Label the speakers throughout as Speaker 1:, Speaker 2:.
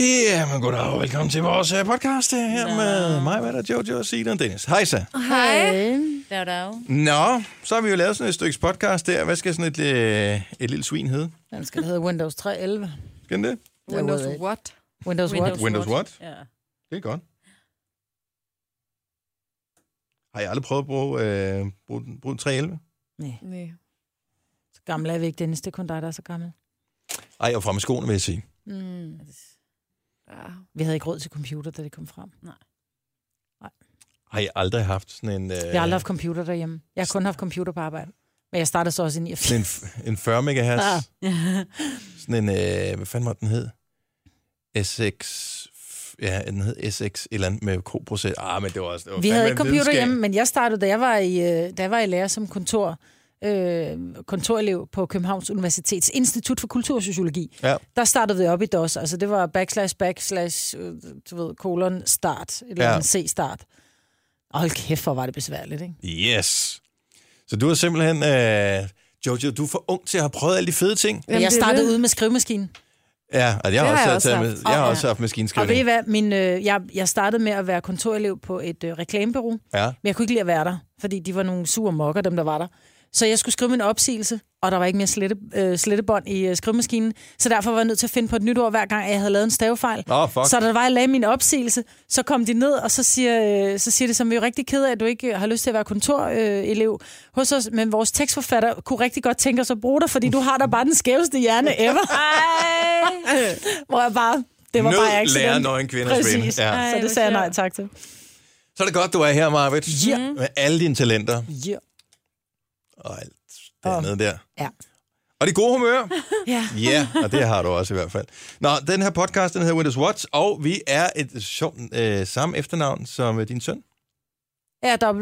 Speaker 1: Ja, men goddag og velkommen til vores øh, podcast øh, her
Speaker 2: Nå.
Speaker 1: med mig, hvad der Jojo og Sina og Dennis. Hej så.
Speaker 2: Hej. Der er der
Speaker 1: Nå, så har vi jo lavet sådan et stykke podcast der. Hvad skal sådan et, øh, et lille svin hedde?
Speaker 3: Den skal hedde Windows 3.11.
Speaker 1: Skal den det?
Speaker 3: Windows
Speaker 4: Windows what?
Speaker 3: Windows, Windows.
Speaker 1: what? Windows what?
Speaker 2: Ja.
Speaker 1: Det er godt. Har jeg aldrig prøvet at bruge, øh, bruge, den- bruge den 311?
Speaker 3: Nej,
Speaker 4: Nej.
Speaker 3: så gammel er vi ikke, Dennis. Det er kun dig, der er så gammel.
Speaker 1: Ej, og fremme skoene, vil jeg sige.
Speaker 3: Mm.
Speaker 4: Ja.
Speaker 3: Vi havde ikke råd til computer, da det kom frem.
Speaker 1: Har jeg aldrig haft sådan en... Øh,
Speaker 3: Jeg har aldrig haft computer derhjemme. Jeg har kun haft computer på arbejde. Men jeg startede så også i 89.
Speaker 1: sådan en, f- en 40 megahertz.
Speaker 3: Ah.
Speaker 1: Sådan en, øh, hvad fanden var den hed? SX... Ja, den hed SX et eller andet med K-procent. Ah, men det var også... Det var
Speaker 3: Vi
Speaker 1: fandme
Speaker 3: havde
Speaker 1: en
Speaker 3: ikke computer
Speaker 1: videnskab.
Speaker 3: hjemme, men jeg startede, da jeg var i, øh, da jeg var i lærer som kontor, øh, kontorelev på Københavns Universitets Institut for Kultursociologi.
Speaker 1: Ja.
Speaker 3: Der startede vi op i DOS. Altså det var backslash, backslash, øh, du ved, kolon, start, et eller
Speaker 1: Ja.
Speaker 3: andet C-start. Og hold kæft, hvor var det besværligt, ikke?
Speaker 1: Yes. Så du er simpelthen... Øh, Jojo, du er for ung til at have prøvet alle de fede ting.
Speaker 3: Jamen,
Speaker 4: Jamen,
Speaker 3: jeg
Speaker 4: det er
Speaker 3: startede
Speaker 4: det.
Speaker 3: ude med skrivemaskinen.
Speaker 1: Ja, og jeg har
Speaker 4: Det
Speaker 1: også,
Speaker 4: har jeg
Speaker 1: taget-
Speaker 4: også
Speaker 1: taget
Speaker 4: haft.
Speaker 1: med, jeg har
Speaker 3: Og-
Speaker 1: også haft
Speaker 3: Og ved I
Speaker 1: maskinskrivning.
Speaker 3: hvad? Min, øh, jeg, jeg startede med at være kontorelev på et øh, reklamebureau, men
Speaker 1: Ja.
Speaker 3: jeg kunne ikke lide at være der, fordi de var nogle sure mokker, dem der var der. Så jeg skulle skrive min opsigelse, og der var ikke mere slette, øh, slettebånd i øh, skrivemaskinen, så derfor var jeg nødt til at finde på et nyt ord, hver gang jeg havde lavet en stavefejl.
Speaker 1: Nå, fuck.
Speaker 3: Så da det var, jeg lagde min opsigelse, så kom de ned, og så siger, øh, så siger de, som vi er jo rigtig ked af, at du ikke øh, har lyst til at være kontorelev hos os, men vores tekstforfatter kunne rigtig godt tænke os at bruge dig, fordi du har da bare den skæveste hjerne ever. Hvor jeg bare, det var
Speaker 1: Nød
Speaker 3: bare accident.
Speaker 1: lærer nøgen kvinders
Speaker 3: Præcis.
Speaker 1: ven. Ja.
Speaker 3: Ja. Så
Speaker 2: Ej,
Speaker 3: det
Speaker 2: hvor
Speaker 3: sagde jeg nej
Speaker 2: sjovt.
Speaker 3: tak til.
Speaker 1: Så er det godt, du er her, Marvitt.
Speaker 3: Ja.
Speaker 1: Med alle dine talenter
Speaker 3: Ja.
Speaker 1: og alt det
Speaker 3: Og-
Speaker 1: andet der.
Speaker 3: Ja.
Speaker 1: Og det gode humør.
Speaker 3: ja.
Speaker 1: Ja, og det har du også i hvert fald. Nå, den her podcast, den hedder Windows Watch, og vi er et sjovt øh, samme efternavn som øh, din søn.
Speaker 3: Ja, der er,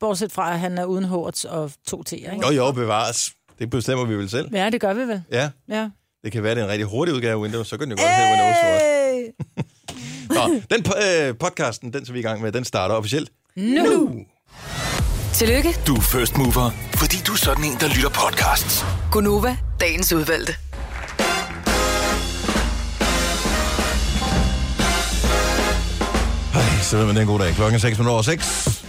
Speaker 3: bortset fra, at han er uden hårdt og to T'er, ikke?
Speaker 1: Jo, jo, bevares. Det bestemmer vi vel selv.
Speaker 3: Ja, det gør vi vel.
Speaker 1: Ja,
Speaker 3: Ja.
Speaker 1: det kan være, det er en rigtig hurtig udgave af Windows, så kan den jo godt hedde Windows Watch. Nå, den po- øh, podcasten, den som vi er i gang med, den starter officielt.
Speaker 3: Nu!
Speaker 5: Tillykke,
Speaker 6: Du er first mover, fordi du er sådan en, der lytter podcasts.
Speaker 5: Gunova, dagens udvalgte.
Speaker 1: Ej, så ved man, det er en god dag. Klokken er 6 minutter over 6.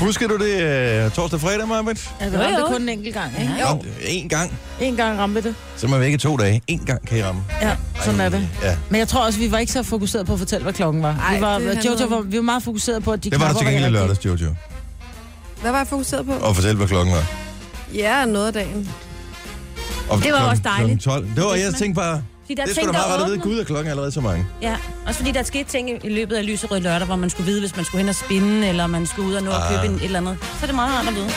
Speaker 1: Husker du det øh, torsdag og fredag, Marbet?
Speaker 3: Ja, vi
Speaker 2: Jo,
Speaker 3: ramte
Speaker 2: jo.
Speaker 3: kun en enkelt gang, ikke?
Speaker 1: Jo. En gang.
Speaker 3: En gang ramte vi det.
Speaker 1: Så er man væk i to dage. En gang kan I ramme.
Speaker 3: Ja, sådan er det.
Speaker 1: Ja.
Speaker 3: Men jeg tror også, vi var ikke så fokuseret på at fortælle, hvad klokken var. Ej,
Speaker 4: Ej,
Speaker 3: vi var,
Speaker 4: det handler
Speaker 3: Jojo
Speaker 4: om-
Speaker 3: var, vi var meget fokuseret på, at de
Speaker 1: Det var der
Speaker 3: knapper
Speaker 1: til gengæld i
Speaker 3: rigtige.
Speaker 1: lørdags, Jojo.
Speaker 4: Hvad var jeg fokuseret på?
Speaker 1: Og fortæl, hvad klokken var.
Speaker 4: Ja, noget af dagen.
Speaker 1: Og
Speaker 2: Det var
Speaker 1: klokken-
Speaker 2: også dejligt.
Speaker 1: klokken 12. Det var,
Speaker 2: Hvis
Speaker 1: jeg
Speaker 2: man-
Speaker 1: tænkte bare,
Speaker 2: Fordi der
Speaker 1: det
Speaker 2: er
Speaker 1: skulle da
Speaker 2: ting,
Speaker 1: meget
Speaker 2: der
Speaker 1: rart at vide.
Speaker 2: åbner.
Speaker 1: Gud, at klokken er allerede så mange.
Speaker 2: Ja, også fordi der skete ting i løbet af lyserød lørdag, hvor man skulle vide, hvis man skulle hen og spinde, eller man skulle ud og nå at
Speaker 1: Ah.
Speaker 2: købe en, et eller andet. Så er det meget rart at vide.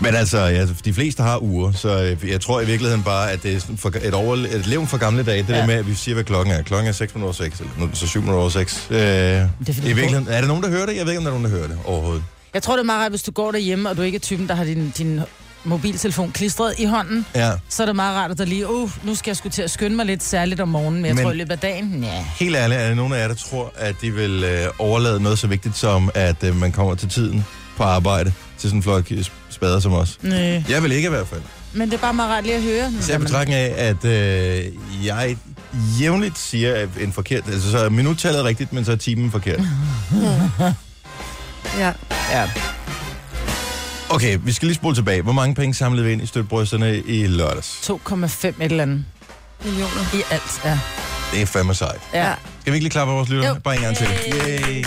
Speaker 1: Men altså, ja, de fleste har uger, så øh, jeg tror i virkeligheden bare, at det er sådan for, et, over, et levn fra gamle dage, det ja. der med, at vi siger, hvad klokken er. Klokken er 6 minutter over 6, eller nu er den så 7 minutter over 6. Øh, det er,
Speaker 3: fordi,
Speaker 1: I
Speaker 3: du
Speaker 1: virkeligheden, er der nogen, der hører det? Jeg ved ikke, om der er nogen, der hører det overhovedet.
Speaker 3: Jeg tror, det er meget rart, hvis du går derhjemme, og du ikke er typen, der har din, din mobiltelefon klistret i hånden.
Speaker 1: Ja.
Speaker 3: Så er det meget rart, at der lige, uh, nu skal jeg skulle til at skynde mig lidt særligt om morgenen, men jeg
Speaker 1: Men-
Speaker 3: men... tror i løbet af dagen, ja.
Speaker 1: Helt ærligt, er der nogen af jer, der tror, at de vil øh, overlade noget så vigtigt som, at øh, man kommer til tiden på arbejde til sådan en flok øh, spader som os?
Speaker 3: Næh.
Speaker 1: Jeg vil ikke i hvert fald.
Speaker 3: Øh, Men det er bare meget rart lige at høre.
Speaker 1: Især i betragtning af, at øh, jeg jævnligt siger at en forkert... Altså, så er minuttallet rigtigt, men så er timen forkert.
Speaker 4: Ja.
Speaker 3: Ja.
Speaker 1: Okay, vi skal lige spole tilbage. Hvor mange penge samlede vi ind i støtbrysterne i lørdags?
Speaker 3: 2,5 et eller andet.
Speaker 4: Millioner.
Speaker 3: I alt, ja.
Speaker 1: Det er fandme sejt.
Speaker 3: ja.
Speaker 1: Skal vi ikke lige klappe af vores lytter?
Speaker 3: Jo.
Speaker 1: Bare en gang til. Yay.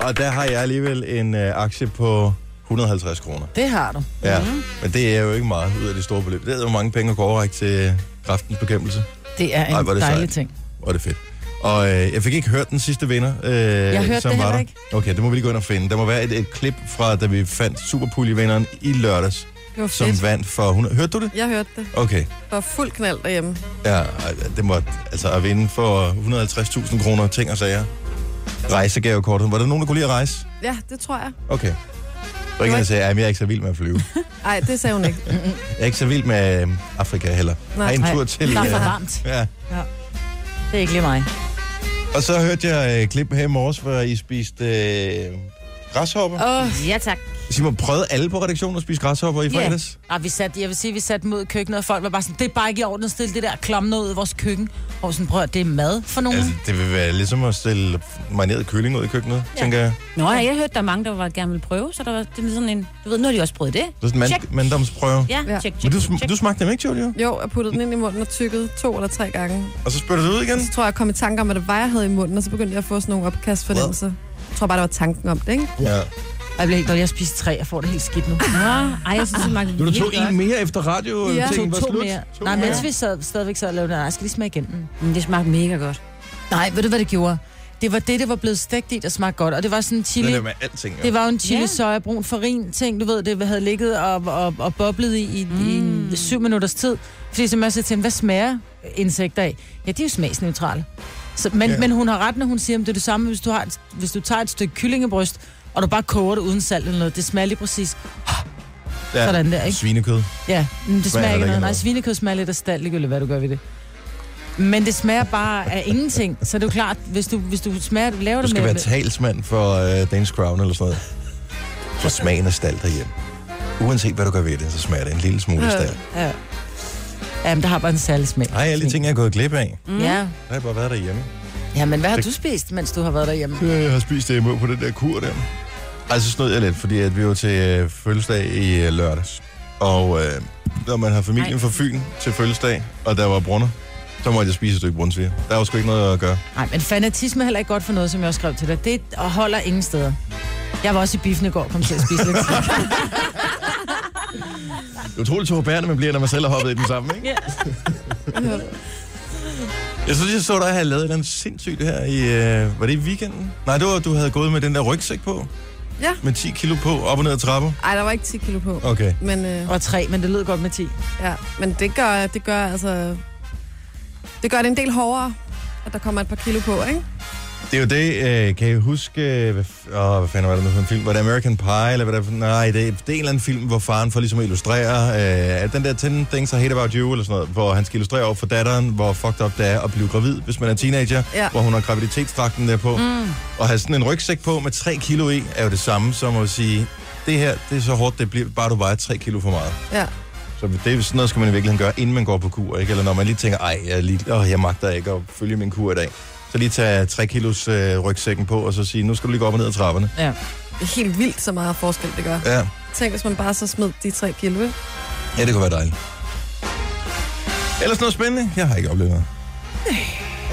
Speaker 1: Og der har jeg alligevel en øh, aktie på 150 kroner.
Speaker 3: Det har du.
Speaker 1: Ja, mm. men det er jo ikke meget ud af det store beløb. Det er jo mange penge at gå overrække til øh, kræftens bekæmpelse.
Speaker 3: Det er en
Speaker 1: Ej, hvor er det
Speaker 3: dejlig
Speaker 1: sejt.
Speaker 3: ting.
Speaker 1: Hvor er det fedt. Og øh, jeg fik ikke hørt den sidste vinder, øh, jeg
Speaker 3: hørte
Speaker 1: som
Speaker 3: det
Speaker 1: var
Speaker 3: heller
Speaker 1: der.
Speaker 3: ikke.
Speaker 1: Okay, det må vi lige gå ind og finde. Der må være et, et klip fra, da vi fandt Superpulje-vinderen i lørdags,
Speaker 4: Det var
Speaker 1: som
Speaker 4: fedt.
Speaker 1: vandt for 100... Hørte du det?
Speaker 4: Jeg hørte det.
Speaker 1: Okay.
Speaker 4: Der var fuld knald derhjemme.
Speaker 1: Ja, ej, det må... Altså, at vinde for 150.000 kroner, ting og sager. Rejsegavekortet. Var der nogen, der kunne lide at rejse?
Speaker 4: Ja, det tror jeg.
Speaker 1: Okay. Og ikke, der sagde, at jeg er ikke så vild med at flyve.
Speaker 4: Nej, det sagde hun ikke.
Speaker 1: Jeg er ikke så vild med øh, Afrika heller.
Speaker 4: Nej.
Speaker 1: Nej, en
Speaker 3: Nej,
Speaker 1: tur til...
Speaker 3: Der er
Speaker 1: øh,
Speaker 3: for varmt.
Speaker 1: Ja.
Speaker 3: Det er ikke lige mig.
Speaker 1: Og så hørte jeg øh, klip her i morges, hvor I spiste øh, græshopper.
Speaker 2: Ja, tak.
Speaker 1: Simon, prøvede alle på redaktionen at spise græshopper i fredags?
Speaker 3: Ja. Ah, vi satte, jeg vil sige, vi satte mod køkkenet, og folk var bare sådan, det er bare ikke i orden at stille det der klamme ud i vores køkken. Og sådan, prøv at, det er mad for nogen.
Speaker 1: Altså,
Speaker 3: Altså,
Speaker 1: det vil være ligesom at stille marineret kylling ud i køkkenet, ja. tænker jeg.
Speaker 2: Nå, ja, jeg hørte, der er mange, der var gerne ville prøve, så der var det er sådan en... Du ved, nu har de også prøvet det.
Speaker 1: Det er sådan en
Speaker 2: Check.
Speaker 1: mand- manddomsprøve. Ja.
Speaker 2: Ja,
Speaker 4: Ja.
Speaker 2: ja. check,
Speaker 1: Men
Speaker 2: check,
Speaker 1: du,
Speaker 2: check.
Speaker 1: sm- du smagte dem ikke, Julia?
Speaker 4: Jo, jeg puttede den ind i munden og tykkede to eller tre gange.
Speaker 1: Og så spytter du ud igen?
Speaker 4: Så tror jeg, jeg kom i tanke om, hvad det var, jeg havde i munden, og så begyndte jeg at få sådan nogle opkastfornemmelser. Jeg tror bare, det var tanken om det, ikke?
Speaker 1: Ja.
Speaker 3: jeg bliver helt dårlig, jeg spiste tre, jeg får det helt skidt nu.
Speaker 2: Nå, ej, jeg synes, det magte
Speaker 1: Nu er der to en mere efter radio.
Speaker 4: Ja.
Speaker 1: tingen var
Speaker 3: to
Speaker 1: slut.
Speaker 3: mere.
Speaker 1: To
Speaker 3: Nej,
Speaker 1: mere.
Speaker 3: mens vi sad, stadigvæk sad og lavede, nej, jeg skal lige smage igen. Mm.
Speaker 2: Men det smagte mega godt.
Speaker 3: Nej, ved du, hvad det gjorde? Det var det, det var blevet stegt i, der smagte godt, og det var sådan en chili...
Speaker 1: Sådan er det med alting.
Speaker 3: Det
Speaker 1: Det var...
Speaker 3: var jo en chili
Speaker 2: Ja.
Speaker 3: soja brun farin ting, du ved, det havde ligget og, og, og boblet i, i, mm. i en syv minutters tid. Fordi så måske til hvad smager insekter af? Ja, de er jo smagsneutrale. Så, men,
Speaker 1: Ja.
Speaker 3: ja. men hun har ret, når hun siger, at det er det samme, hvis du, har, et- hvis du tager et stykke kyllingebryst, og du bare koger det uden salt eller noget. Det smager lige præcis.
Speaker 1: Ja.
Speaker 3: Sådan der, ikke?
Speaker 1: Svinekød.
Speaker 3: Ja, men det
Speaker 1: Smager heller
Speaker 3: smager ikke
Speaker 1: ikke
Speaker 3: noget. Nej,
Speaker 1: noget.
Speaker 3: svinekød smager lidt af stald, ligegyldigt hvad du gør ved det. Men det smager bare af ingenting. Så det er jo klart, hvis du, hvis du smager, laver
Speaker 1: Du
Speaker 3: det
Speaker 1: skal
Speaker 3: med...
Speaker 1: være talsmand for øh, Danish Crown eller sådan noget. For smagen af stald derhjemme. Uanset hvad du gør ved det, så smager det en lille smule
Speaker 4: Ja.
Speaker 1: stald.
Speaker 3: ja. Jamen, der har bare en særlig smag.
Speaker 1: Ej, alle de ting, jeg er gået glip af.
Speaker 3: Mm. Ja.
Speaker 1: Der har jeg bare været derhjemme.
Speaker 3: ja, men hvad har
Speaker 1: Det-
Speaker 3: du spist, mens du har været derhjemme?
Speaker 1: Øh, Jeg har spist det på den der kur der. Altså så snød jeg lidt, fordi at vi var til øh, fødselsdag i øh, lørdags. Og øh, når man har familien
Speaker 2: Ej.
Speaker 1: fra Fyn til fødselsdag, og der var brunner, så måtte jeg spise et stykke brunsviger. Der var sgu ikke noget at gøre.
Speaker 3: Nej, men fanatisme er heller ikke godt for noget, som jeg også skrev til dig. Det og holder ingen steder. Jeg var også i biffen i går og kom til at spise lidt.
Speaker 1: Det er utroligt tårbærende, man bliver, når man selv har hoppet i den samme, ikke? Jeg synes, jeg så dig have lavet et eller andet sindssygt her i... Øh, var det i weekenden? Nej, det var, du havde gået med den der rygsæk på.
Speaker 4: Ja.
Speaker 1: Med 10 kilo på, op og ned ad trapper.
Speaker 4: Ej, der var ikke 10 kilo på.
Speaker 1: Okay.
Speaker 4: Men, øh,
Speaker 3: og tre, men det lød godt med ti.
Speaker 4: ja. men det, gør, det gør altså... Det gør det en del hårdere, at der kommer et par kilo på, ikke?
Speaker 1: Det er jo det, øh, kan jeg huske, øh, hvad, f- åh, hvad fanden var det nu for en film? Var det American Pie, eller hvad det, nej, det, det er en eller anden film, hvor faren får ligesom at illustrere, øh, at den der 10 things I hate about you, eller sådan noget, hvor han skal illustrere over for datteren, hvor fucked up det er at blive gravid, hvis man er teenager,
Speaker 4: Ja.
Speaker 1: hvor hun har graviditetsdragten der på, mm. og have sådan en rygsæk på med 3 kilo i, er jo det samme som at sige, det her, det er så hårdt, det bliver, bare du vejer 3 kilo for meget.
Speaker 4: Ja.
Speaker 1: Så det er sådan noget, skal man i virkeligheden gøre, inden man går på kur, ikke? Eller når man lige tænker, ej, jeg, er lige, åh, jeg magter ikke at følge min kur i dag. Så lige tage 3 kilos øh, rygsækken på, og så sige, nu skal du lige gå op og ned ad trapperne.
Speaker 3: Ja.
Speaker 4: Det er helt vildt, så meget forskel det gør.
Speaker 1: Ja,
Speaker 4: Tænk, hvis man bare så smed de 3 kilo, ikke?
Speaker 1: ja det kunne være dejligt. Ellers noget spændende? Jeg har ikke oplevet noget.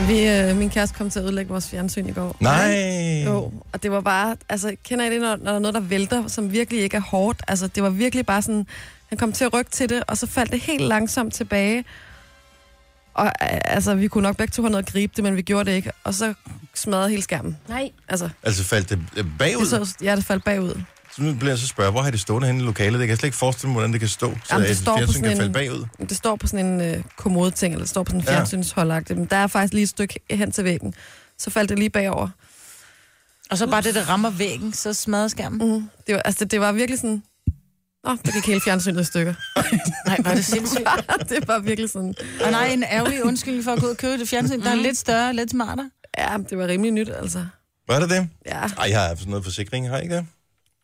Speaker 4: Vi, øh, min kæreste kom til at ødelægge vores fjernsyn i går.
Speaker 1: Nej!
Speaker 4: Jo, og det var bare, altså kender I det, når, når der er noget, der vælter, som virkelig ikke er hårdt? Altså det var virkelig bare sådan, han kom til at rykke til det, og så faldt det helt langsomt tilbage. Og øh, altså, vi kunne nok begge to have noget at gribe det, men vi gjorde det ikke. Og så smadrede hele skærmen.
Speaker 2: Nej.
Speaker 4: Altså,
Speaker 1: Altså faldt det øh,
Speaker 4: det
Speaker 1: bagud? Så...
Speaker 4: så, ja, det faldt bagud.
Speaker 1: nu bliver jeg så spørge, hvor har det stående henne i lokalet? Det kan jeg slet ikke forestille mig, hvordan det kan stå, så
Speaker 4: Jamen, det
Speaker 1: et
Speaker 4: står på
Speaker 1: fjernsyn
Speaker 4: sådan
Speaker 1: kan
Speaker 4: en-
Speaker 1: falde bagud.
Speaker 4: Det står på sådan en øh, kommodeting, eller det står på sådan en
Speaker 1: Ja.
Speaker 4: fjernsynsholdagtig, men der er faktisk lige et stykke hen til væggen. Så faldt det lige bagover.
Speaker 3: Og så bare det, der rammer væggen, så smadrer skærmen.
Speaker 4: Mm. Det, var, altså, det, det var virkelig sådan... Åh, oh, det gik hele fjernsynet i stykker.
Speaker 3: Nej, var det sindssygt.
Speaker 4: det var virkelig sådan...
Speaker 3: Og nej, en ærgerlig undskyldning for at gå ud og købe det fjernsyn,
Speaker 1: Mhm.
Speaker 3: der er lidt større, lidt smartere.
Speaker 4: Ja, det var rimelig nyt, altså.
Speaker 1: Var det det?
Speaker 4: Ja.
Speaker 1: Ej, jeg har sådan noget forsikring, har jeg ikke det?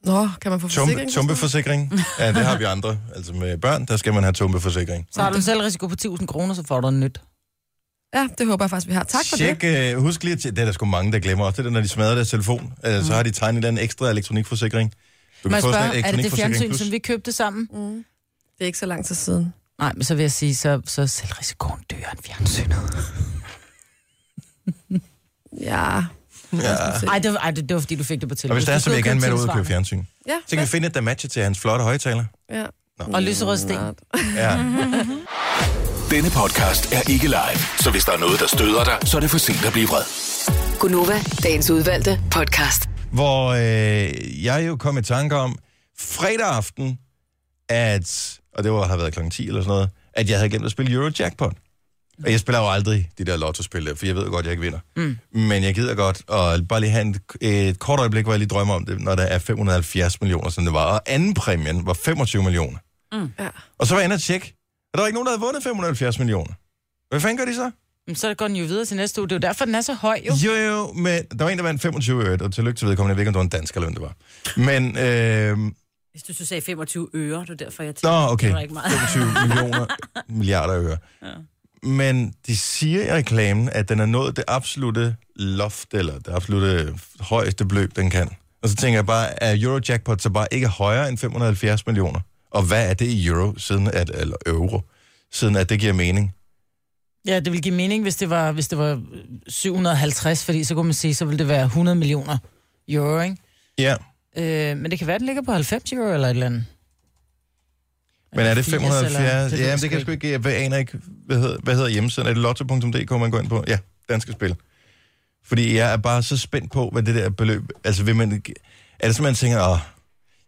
Speaker 4: Nå, kan man få
Speaker 1: Tumpe,
Speaker 4: forsikring?
Speaker 1: tumpeforsikring. Ja, det har vi andre. Altså med børn, der skal man have tumpeforsikring.
Speaker 3: Så har du selv risiko på 1000 kroner, så får du en nyt.
Speaker 4: Ja, det håber jeg faktisk, vi har. Tak for
Speaker 1: Tjek,
Speaker 4: det.
Speaker 1: øh, husk lige, at tje- det er der sgu mange, der glemmer også. Det er, når de smadrer deres telefon, øh, så har de tegnet en eller anden ekstra elektronikforsikring. Du
Speaker 3: Mm. Må
Speaker 1: kan
Speaker 3: jeg
Speaker 1: få sådan en
Speaker 3: spørge, er det det
Speaker 1: elektronikforsikring
Speaker 3: fjernsyn,
Speaker 1: plus.
Speaker 3: som vi købte sammen?
Speaker 4: Det er ikke så lang tid siden.
Speaker 3: Nej, men så vil jeg sige, så, så er selvrisikoen dør end fjernsynet.
Speaker 4: Ja. Ja.
Speaker 3: Ej, det, var- ej det, det var fordi, du fik det på telefon.
Speaker 1: Og hvis det er, så vil jeg gerne med dig ud og købe
Speaker 3: fjernsynet.
Speaker 1: fjernsyn.
Speaker 4: Ja.
Speaker 1: Så kan vi finde et, der matcher til hans flotte højtaler.
Speaker 4: ja. Mm.
Speaker 3: Og lyserød sten.
Speaker 1: Ja.
Speaker 3: Mm.
Speaker 6: Denne podcast er ikke live, så hvis der er noget, der støder dig, så er det for sent at blive vred.
Speaker 5: Gunova, dagens udvalgte podcast.
Speaker 1: Hvor øh, jeg jo kom i tanke om fredag aften, at, og det var, har været kl. 10 eller sådan noget, at jeg havde glemt at spille Eurojackpot. Og jeg spiller jo aldrig de der lottospil der, for jeg ved jo godt, at jeg ikke vinder. Mm. Men jeg gider godt at bare lige have en, et kort øjeblik, hvor jeg lige drømmer om det, når der er 570 millioner, som det var. Og anden præmien var 25 millioner.
Speaker 4: Ja.
Speaker 1: Og så var jeg inde og tjekke. Og der var ikke nogen, der havde vundet 570 millioner. Hvad fanden gør de så?
Speaker 3: Men så går den jo videre til næste uge. Det er jo derfor, den er så høj, jo.
Speaker 1: Jo, jo, men der var en, der vandt 25 øre, og tillykke til vedkommende. Jeg ved ikke, om det var en dansk eller hvem det var. Men øh,
Speaker 2: Hvis du så sagde 25 øre, det var derfor, jeg tænkte,
Speaker 1: Nå, okay.
Speaker 2: det var ikke meget.
Speaker 1: 25 millioner milliarder øre. Ja. Men de siger i reklamen, at den er nået det absolute loft, eller det absolute højeste beløb, den kan. Og så tænker jeg bare, er Eurojackpot så bare ikke højere end 570 millioner? Og hvad er det i euro, siden at, eller euro, siden at det giver mening?
Speaker 3: Ja, det ville give mening, hvis det, var, hvis det var 750, fordi så kunne man sige, så ville det være 100 millioner euro, ikke?
Speaker 1: Ja,
Speaker 3: Øh, men det kan være, den ligger på 90 euro eller et eller andet.
Speaker 1: men er det
Speaker 3: 80
Speaker 1: 570?
Speaker 3: ved
Speaker 1: Ja,
Speaker 3: jeg
Speaker 1: men det kan jeg sgu ikke. Jeg aner ikke, hvad hedder, hvad hedder hjemmesiden? Er det lotto.dk, man går ind på? Ja, danske spil. Fordi jeg er bare så spændt på, hvad det der beløb... Altså, vil man, er det sådan, man tænker, åh,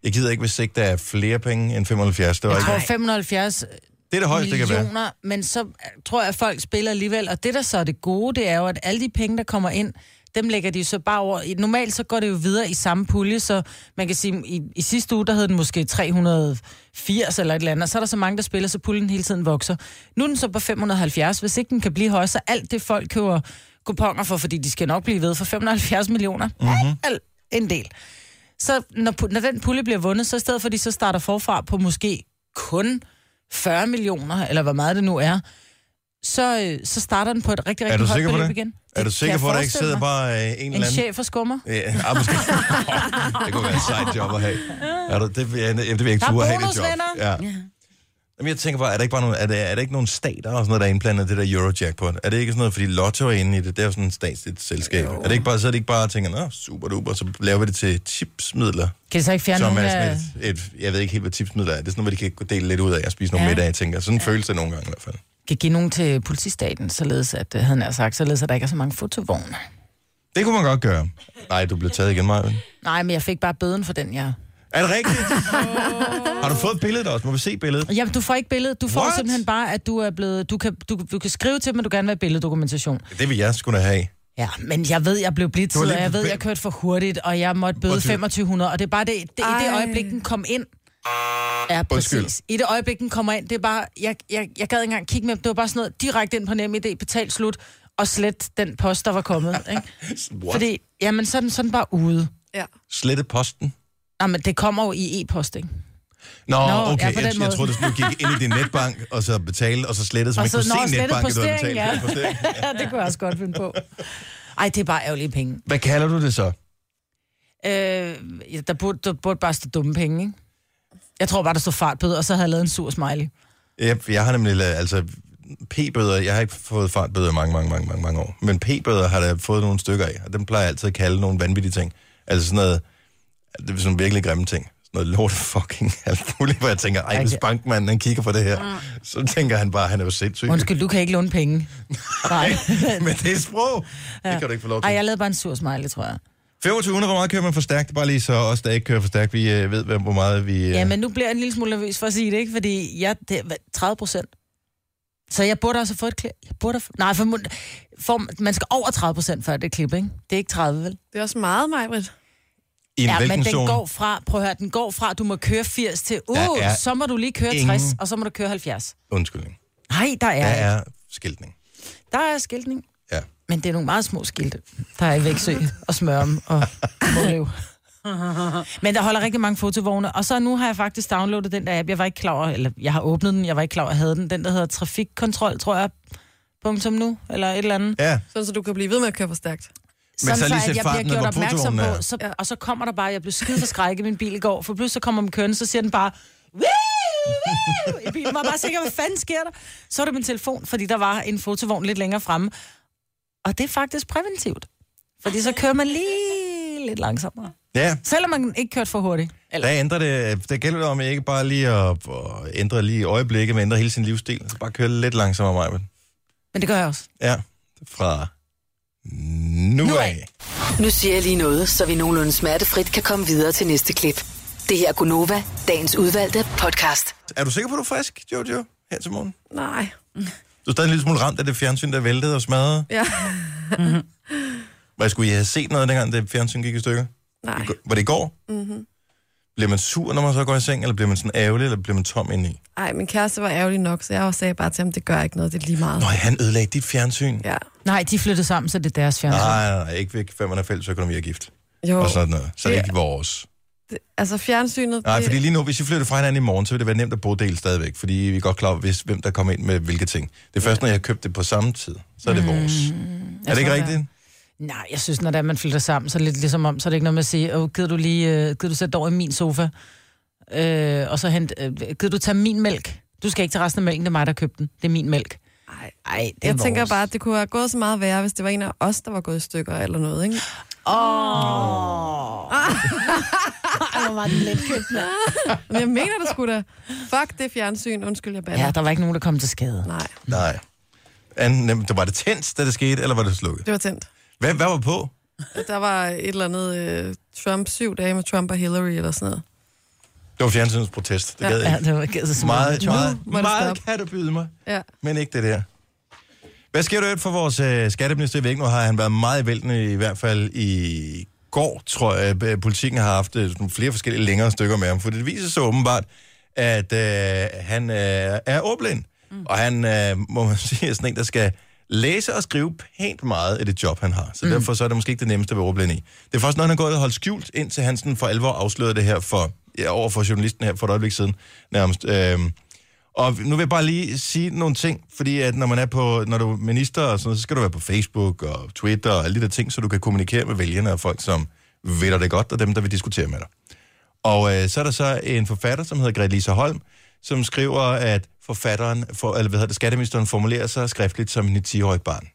Speaker 1: jeg gider ikke, hvis ikke der er flere penge end 75. Det, var
Speaker 3: Jeg
Speaker 1: ikke,
Speaker 3: tror 570
Speaker 1: det er det højeste, det kan være.
Speaker 3: millioner, men så øh, tror jeg, at folk spiller alligevel. Og det, der så er det gode, det er jo, at alle de penge, der kommer ind, dem lægger de jo så bare over. i- Normalt så går det jo videre i samme pulje, så man kan sige, i, i sidste uge, der hed den måske 380 eller et eller andet, og så er der så mange, der spiller, så puljen hele tiden vokser. Nu er den så på 570, hvis ikke den kan blive højere, så alt det, folk køber kuponer for, fordi de skal nok blive ved for 570 millioner.
Speaker 1: Mhm.
Speaker 3: Mm-hmm. En del. Så når, pu- når den pulje bliver vundet, så i stedet for, at de så starter forfra på måske kun 40 millioner, eller hvor meget det nu er, så, øh, så starter den på et rigtig,
Speaker 1: Er
Speaker 3: rigtig
Speaker 1: du
Speaker 3: højt
Speaker 1: sikker på
Speaker 3: beløb
Speaker 1: det?
Speaker 3: igen.
Speaker 1: Er du
Speaker 3: Det
Speaker 1: sikker
Speaker 3: kan
Speaker 1: på, at
Speaker 3: jeg
Speaker 1: der ikke
Speaker 3: forestille
Speaker 1: sidder
Speaker 3: mig.
Speaker 1: bare øh, en eller
Speaker 3: En
Speaker 1: anden...
Speaker 3: chef for skummer?
Speaker 1: Ja, ah, måske. det kunne være et sejt job at have. Er du, det, vil jeg, det vil jeg ikke
Speaker 3: Der er
Speaker 1: turde at have det job.
Speaker 3: bonusvenner.
Speaker 1: Ja. Jamen, jeg tænker bare, er der ikke, bare nogle, er der, er der ikke nogen stater og sådan noget, der er indblandet i det der Eurojackpot? Er det ikke sådan noget, fordi Lotto er inde i det, det er jo sådan et statsligt selskab. Er det ikke bare, så er det ikke bare at tænke, nå, super duper, så laver vi det til tipsmidler,
Speaker 3: Kan det så ikke fjerne øh,
Speaker 1: som
Speaker 3: nogen
Speaker 1: er
Speaker 3: af...
Speaker 1: sådan et, et, jeg ved ikke helt, hvad tipsmidler er. Det er sådan noget, hvor de kan dele lidt ud af og spise nogle
Speaker 3: Ja.
Speaker 1: middage, tænker jeg. Sådan føles det nogle gange i hvert fald.
Speaker 3: Kan give nogen til politistaten, således at, øh, havde han sagt, således at der ikke er så mange fotovogne.
Speaker 1: Det kunne man godt gøre. Nej, du blev taget igen, Maja.
Speaker 3: Nej, men jeg fik bare bøden for den, jeg...
Speaker 1: Er det rigtigt? Har du fået billedet også? Må vi se billedet?
Speaker 3: Jamen, du får ikke billedet. Du får
Speaker 1: What?
Speaker 3: What? simpelthen bare, at du er blevet... Du kan, du, du kan skrive til dem, at du gerne vil have billeddokumentation.
Speaker 1: Det vil jeg skulle da have.
Speaker 3: Ja, men jeg ved, jeg blev blitzet,
Speaker 1: Du var
Speaker 3: og
Speaker 1: lige
Speaker 3: jeg
Speaker 1: på
Speaker 3: ved,
Speaker 1: fem-
Speaker 3: jeg kørte for hurtigt, og jeg måtte bøde
Speaker 1: Undskyld.
Speaker 3: 2500, og det er bare det, det, i det
Speaker 4: Ej.
Speaker 3: øjeblik, den kom ind. Ja, præcis.
Speaker 1: Undskyld.
Speaker 3: I det øjeblik, den kommer ind, det er bare, jeg, jeg, jeg gad ikke engang kigge med, dem. det var bare sådan noget, direkte ind på NemID, betalt slut, og slet den post, der var kommet. Ikke?
Speaker 1: What?
Speaker 3: Fordi, jamen, så er den sådan bare ude.
Speaker 4: Ja.
Speaker 1: Slette posten.
Speaker 3: Nej, men det kommer jo i e-posting.
Speaker 1: Nå,
Speaker 3: Nå,
Speaker 1: okay.
Speaker 3: ja, på
Speaker 1: jeg,
Speaker 3: den
Speaker 1: jeg
Speaker 3: måde.
Speaker 1: troede, du skulle gik ind i din netbank, og så betale, og så slette, så
Speaker 3: Og
Speaker 1: man
Speaker 3: så-
Speaker 1: ikke
Speaker 3: nå,
Speaker 1: kunne se
Speaker 3: slette
Speaker 1: netbanken, du havde betalt.
Speaker 3: postering, ja.
Speaker 1: Postering.
Speaker 3: Ja, det kunne jeg også godt finde på. Ej, det er bare ærgerlige penge.
Speaker 1: Hvad kalder du det så?
Speaker 3: Øh, ja, der, burde, der burde bare stå dumme penge, ikke? Jeg tror bare, der stod fartbøde, og så havde jeg lavet en sur smiley.
Speaker 1: Jeg, jeg har nemlig lavet, altså p-bøder, jeg har ikke fået fartbøder i mange, mange, mange, mange, mange år. Men p-bøder har jeg fået nogle stykker af, og dem plejer jeg altid at kalde nogle vanvittige ting. Altså sådan noget, det er sådan virkelig grimme ting. Sådan noget lort fucking alt muligt, hvor jeg tænker, ej, hvis
Speaker 3: Okay.
Speaker 1: bankmanden han kigger på det her, så tænker han bare, han er jo sindssyg.
Speaker 3: Mm. Undskyld, du kan ikke låne penge. Nej.
Speaker 1: Men det er sprog. Det kan du ikke få lov til.
Speaker 3: Ej, jeg lavede bare en sur smiley, tror jeg.
Speaker 1: 2500, hvor meget kører man for stærkt? Bare lige så os, der ikke kører for stærkt, vi øh, ved, hvad- hvor meget vi... Øh...
Speaker 3: Ja. men nu bliver jeg en lille smule nervøs for at sige det, ikke? Fordi jeg... Det, er- hvad, 30 procent. Så jeg burde også have fået et klip. Jeg burde have, f- nej, for, mun- for, man skal over 30 procent før det klip, ikke? Det er ikke 30, vel?
Speaker 4: Det er også meget, Majbrit.
Speaker 1: I en
Speaker 3: ja,
Speaker 1: hvilken
Speaker 3: men den
Speaker 1: zone?
Speaker 3: går fra... Prøv at høre, den går fra, at du må køre 80 til... Uh,
Speaker 1: Der er
Speaker 3: så må du lige køre
Speaker 1: ingen-
Speaker 3: 60, og så må du køre 70.
Speaker 1: Undskyldning.
Speaker 3: Nej, der
Speaker 1: Der
Speaker 3: er...
Speaker 1: er skiltning.
Speaker 3: Der er skiltning.
Speaker 1: Ja.
Speaker 3: Men det er nogle meget små skilte. Der er i Vægtsø og Smørum og Måløv. Men der holder rigtig mange fotovogne. Og så nu har jeg faktisk downloadet den der app. Jeg var ikke klar over, eller jeg har åbnet den, jeg var ikke klar over, jeg havde den. Den, der hedder Trafikkontrol, tror jeg. Punktum nu, eller et eller andet.
Speaker 1: Ja,
Speaker 4: Sådan, så du kan blive ved med at køre for stærkt.
Speaker 3: Sådan
Speaker 1: så lige sæt
Speaker 3: at jeg
Speaker 1: farten ned,
Speaker 3: bliver gjort
Speaker 1: hvor
Speaker 3: opmærksom
Speaker 1: fotovognen
Speaker 3: på,
Speaker 1: er.
Speaker 3: så, og så kommer der bare, jeg blev skide for skræk i min bil i går, for pludselig så kommer den kørende, så siger den bare, "Woo! Woo!" i bilen var jeg bare sikker, hvad fanden sker der? Så er det min telefon, fordi der var en fotovogn lidt længere fremme. Og det er faktisk præventivt, fordi så kører man lige lidt langsommere.
Speaker 1: øh. ja.
Speaker 3: Selvom man ikke kørte for hurtigt. Eller,
Speaker 1: Der ændrer det, der gælder det om ikke bare lige at, at ændre lige i øjeblikket, men ændre hele sin livsstil. Så bare køre lidt langsommere, Maja.
Speaker 3: men det gør jeg også.
Speaker 1: Ja, fra nu,
Speaker 3: Nu
Speaker 1: af.
Speaker 3: af.
Speaker 5: Nu siger jeg lige noget, så vi nogenlunde smertefrit kan komme videre til næste klip. Det her er Gunova, dagens udvalgte podcast.
Speaker 1: Er du sikker på, at du er frisk, Jojo, her til morgen?
Speaker 4: Nej.
Speaker 1: Du er stadig en lille smule ramt af det fjernsyn, der væltede og smadrede.
Speaker 4: Ja.
Speaker 1: Hvad skulle I have set noget, dengang det fjernsyn gik i stykker?
Speaker 4: Nej.
Speaker 1: Var det i går? Mm-hmm. Bliver man sur, når man så går i seng, eller bliver man sådan ærgerlig, eller bliver man tom indeni?
Speaker 4: Ej, min kæreste var ærgerlig nok, så jeg også sagde bare til ham, det gør ikke noget, det er lige meget.
Speaker 1: Nå, han ødelagde dit fjernsyn. Ja.
Speaker 4: Ja.
Speaker 3: Nej, de flyttede sammen, så det er deres fjernsyn.
Speaker 1: Nej, nej, nej, ikke væk, før man er fælles økonomi og gift.
Speaker 4: Jo.
Speaker 1: Og sådan noget. Så det er ikke vores.
Speaker 4: det, altså fjernsynet...
Speaker 1: Nej,
Speaker 4: det-
Speaker 1: fordi lige nu, hvis I flytter fra hinanden i morgen, så vil det være nemt at bruge del stadigvæk, fordi vi er godt klar over, hvis, hvem der kommer ind med hvilke ting. Det er først, når jeg købte det på samme tid, så er det vores. er det ikke
Speaker 3: tror, det er.
Speaker 1: rigtigt?
Speaker 3: Nej, jeg synes, når det er, man flytter sammen, så er det lidt ligesom om, så er det ikke noget med at sige, åh, gider du lige, øh, gider du sætte dig over i min sofa, øh, og så hent, øh, gider du tage min mælk? Du skal ikke til resten af mælken, det er mig, der købte den. Det er min mælk.
Speaker 4: Ej,
Speaker 3: Ej, det er
Speaker 4: jeg tænker
Speaker 3: vores.
Speaker 4: bare, at det kunne have gået så meget værre, hvis det var en af os, der var gået i stykker eller noget, ikke?
Speaker 3: Ej, hvor var den let købt.
Speaker 4: Men jeg mener det skulle da. Fuck det fjernsyn. Undskyld, jeg bander.
Speaker 3: Ja, der var ikke nogen, der kom til skade.
Speaker 4: Nej,
Speaker 1: Nej. Anden, nem- var det tændt, da det skete, eller var det slukket?
Speaker 4: det var tændt.
Speaker 1: Hvad, hvad var på?
Speaker 4: Der var et eller andet øh, Trump, syv dage med Trump og Hillary eller sådan noget.
Speaker 1: Det var fjernsynets protest. Det gad jeg
Speaker 3: Ja,
Speaker 1: ikke.
Speaker 3: det var givet så
Speaker 1: Meget, meget,
Speaker 4: må det
Speaker 1: meget
Speaker 4: stoppe.
Speaker 1: kan du byde mig,
Speaker 4: Ja.
Speaker 1: men ikke det der. Hvad sker der for vores øh, skatteminister? Jeg ved ikke, nu har han været meget væltende, i hvert fald i går, tror jeg. at Politikken har haft øh, sådan flere forskellige længere stykker med ham, for det viser sig åbenbart, at øh, han øh, er ordblind. Mm. Og han, øh, må man sige, er sådan en, der skal læse og skrive pænt meget af det job, han har. Så mm. derfor så er det måske ikke det nemmeste at være ordblind i. Det er faktisk noget, han har gået og holdt skjult, indtil han sådan for alvor afslørede det her for, ja, over for journalisten her for et øjeblik siden, nærmest. Øh, og nu vil jeg bare lige sige nogle ting, fordi at når man er på, når du er minister og sådan noget, så skal du være på Facebook og Twitter og alle de der ting, så du kan kommunikere med vælgerne og folk, som ved dig det godt, og dem, der vil diskutere med dig. Og øh, så er der så en forfatter, som hedder Grete Lisa Holm, som skriver, at forfatteren, for, eller hvad hedder det, skatteministeren formulerer sig skriftligt som en 10-årig barn.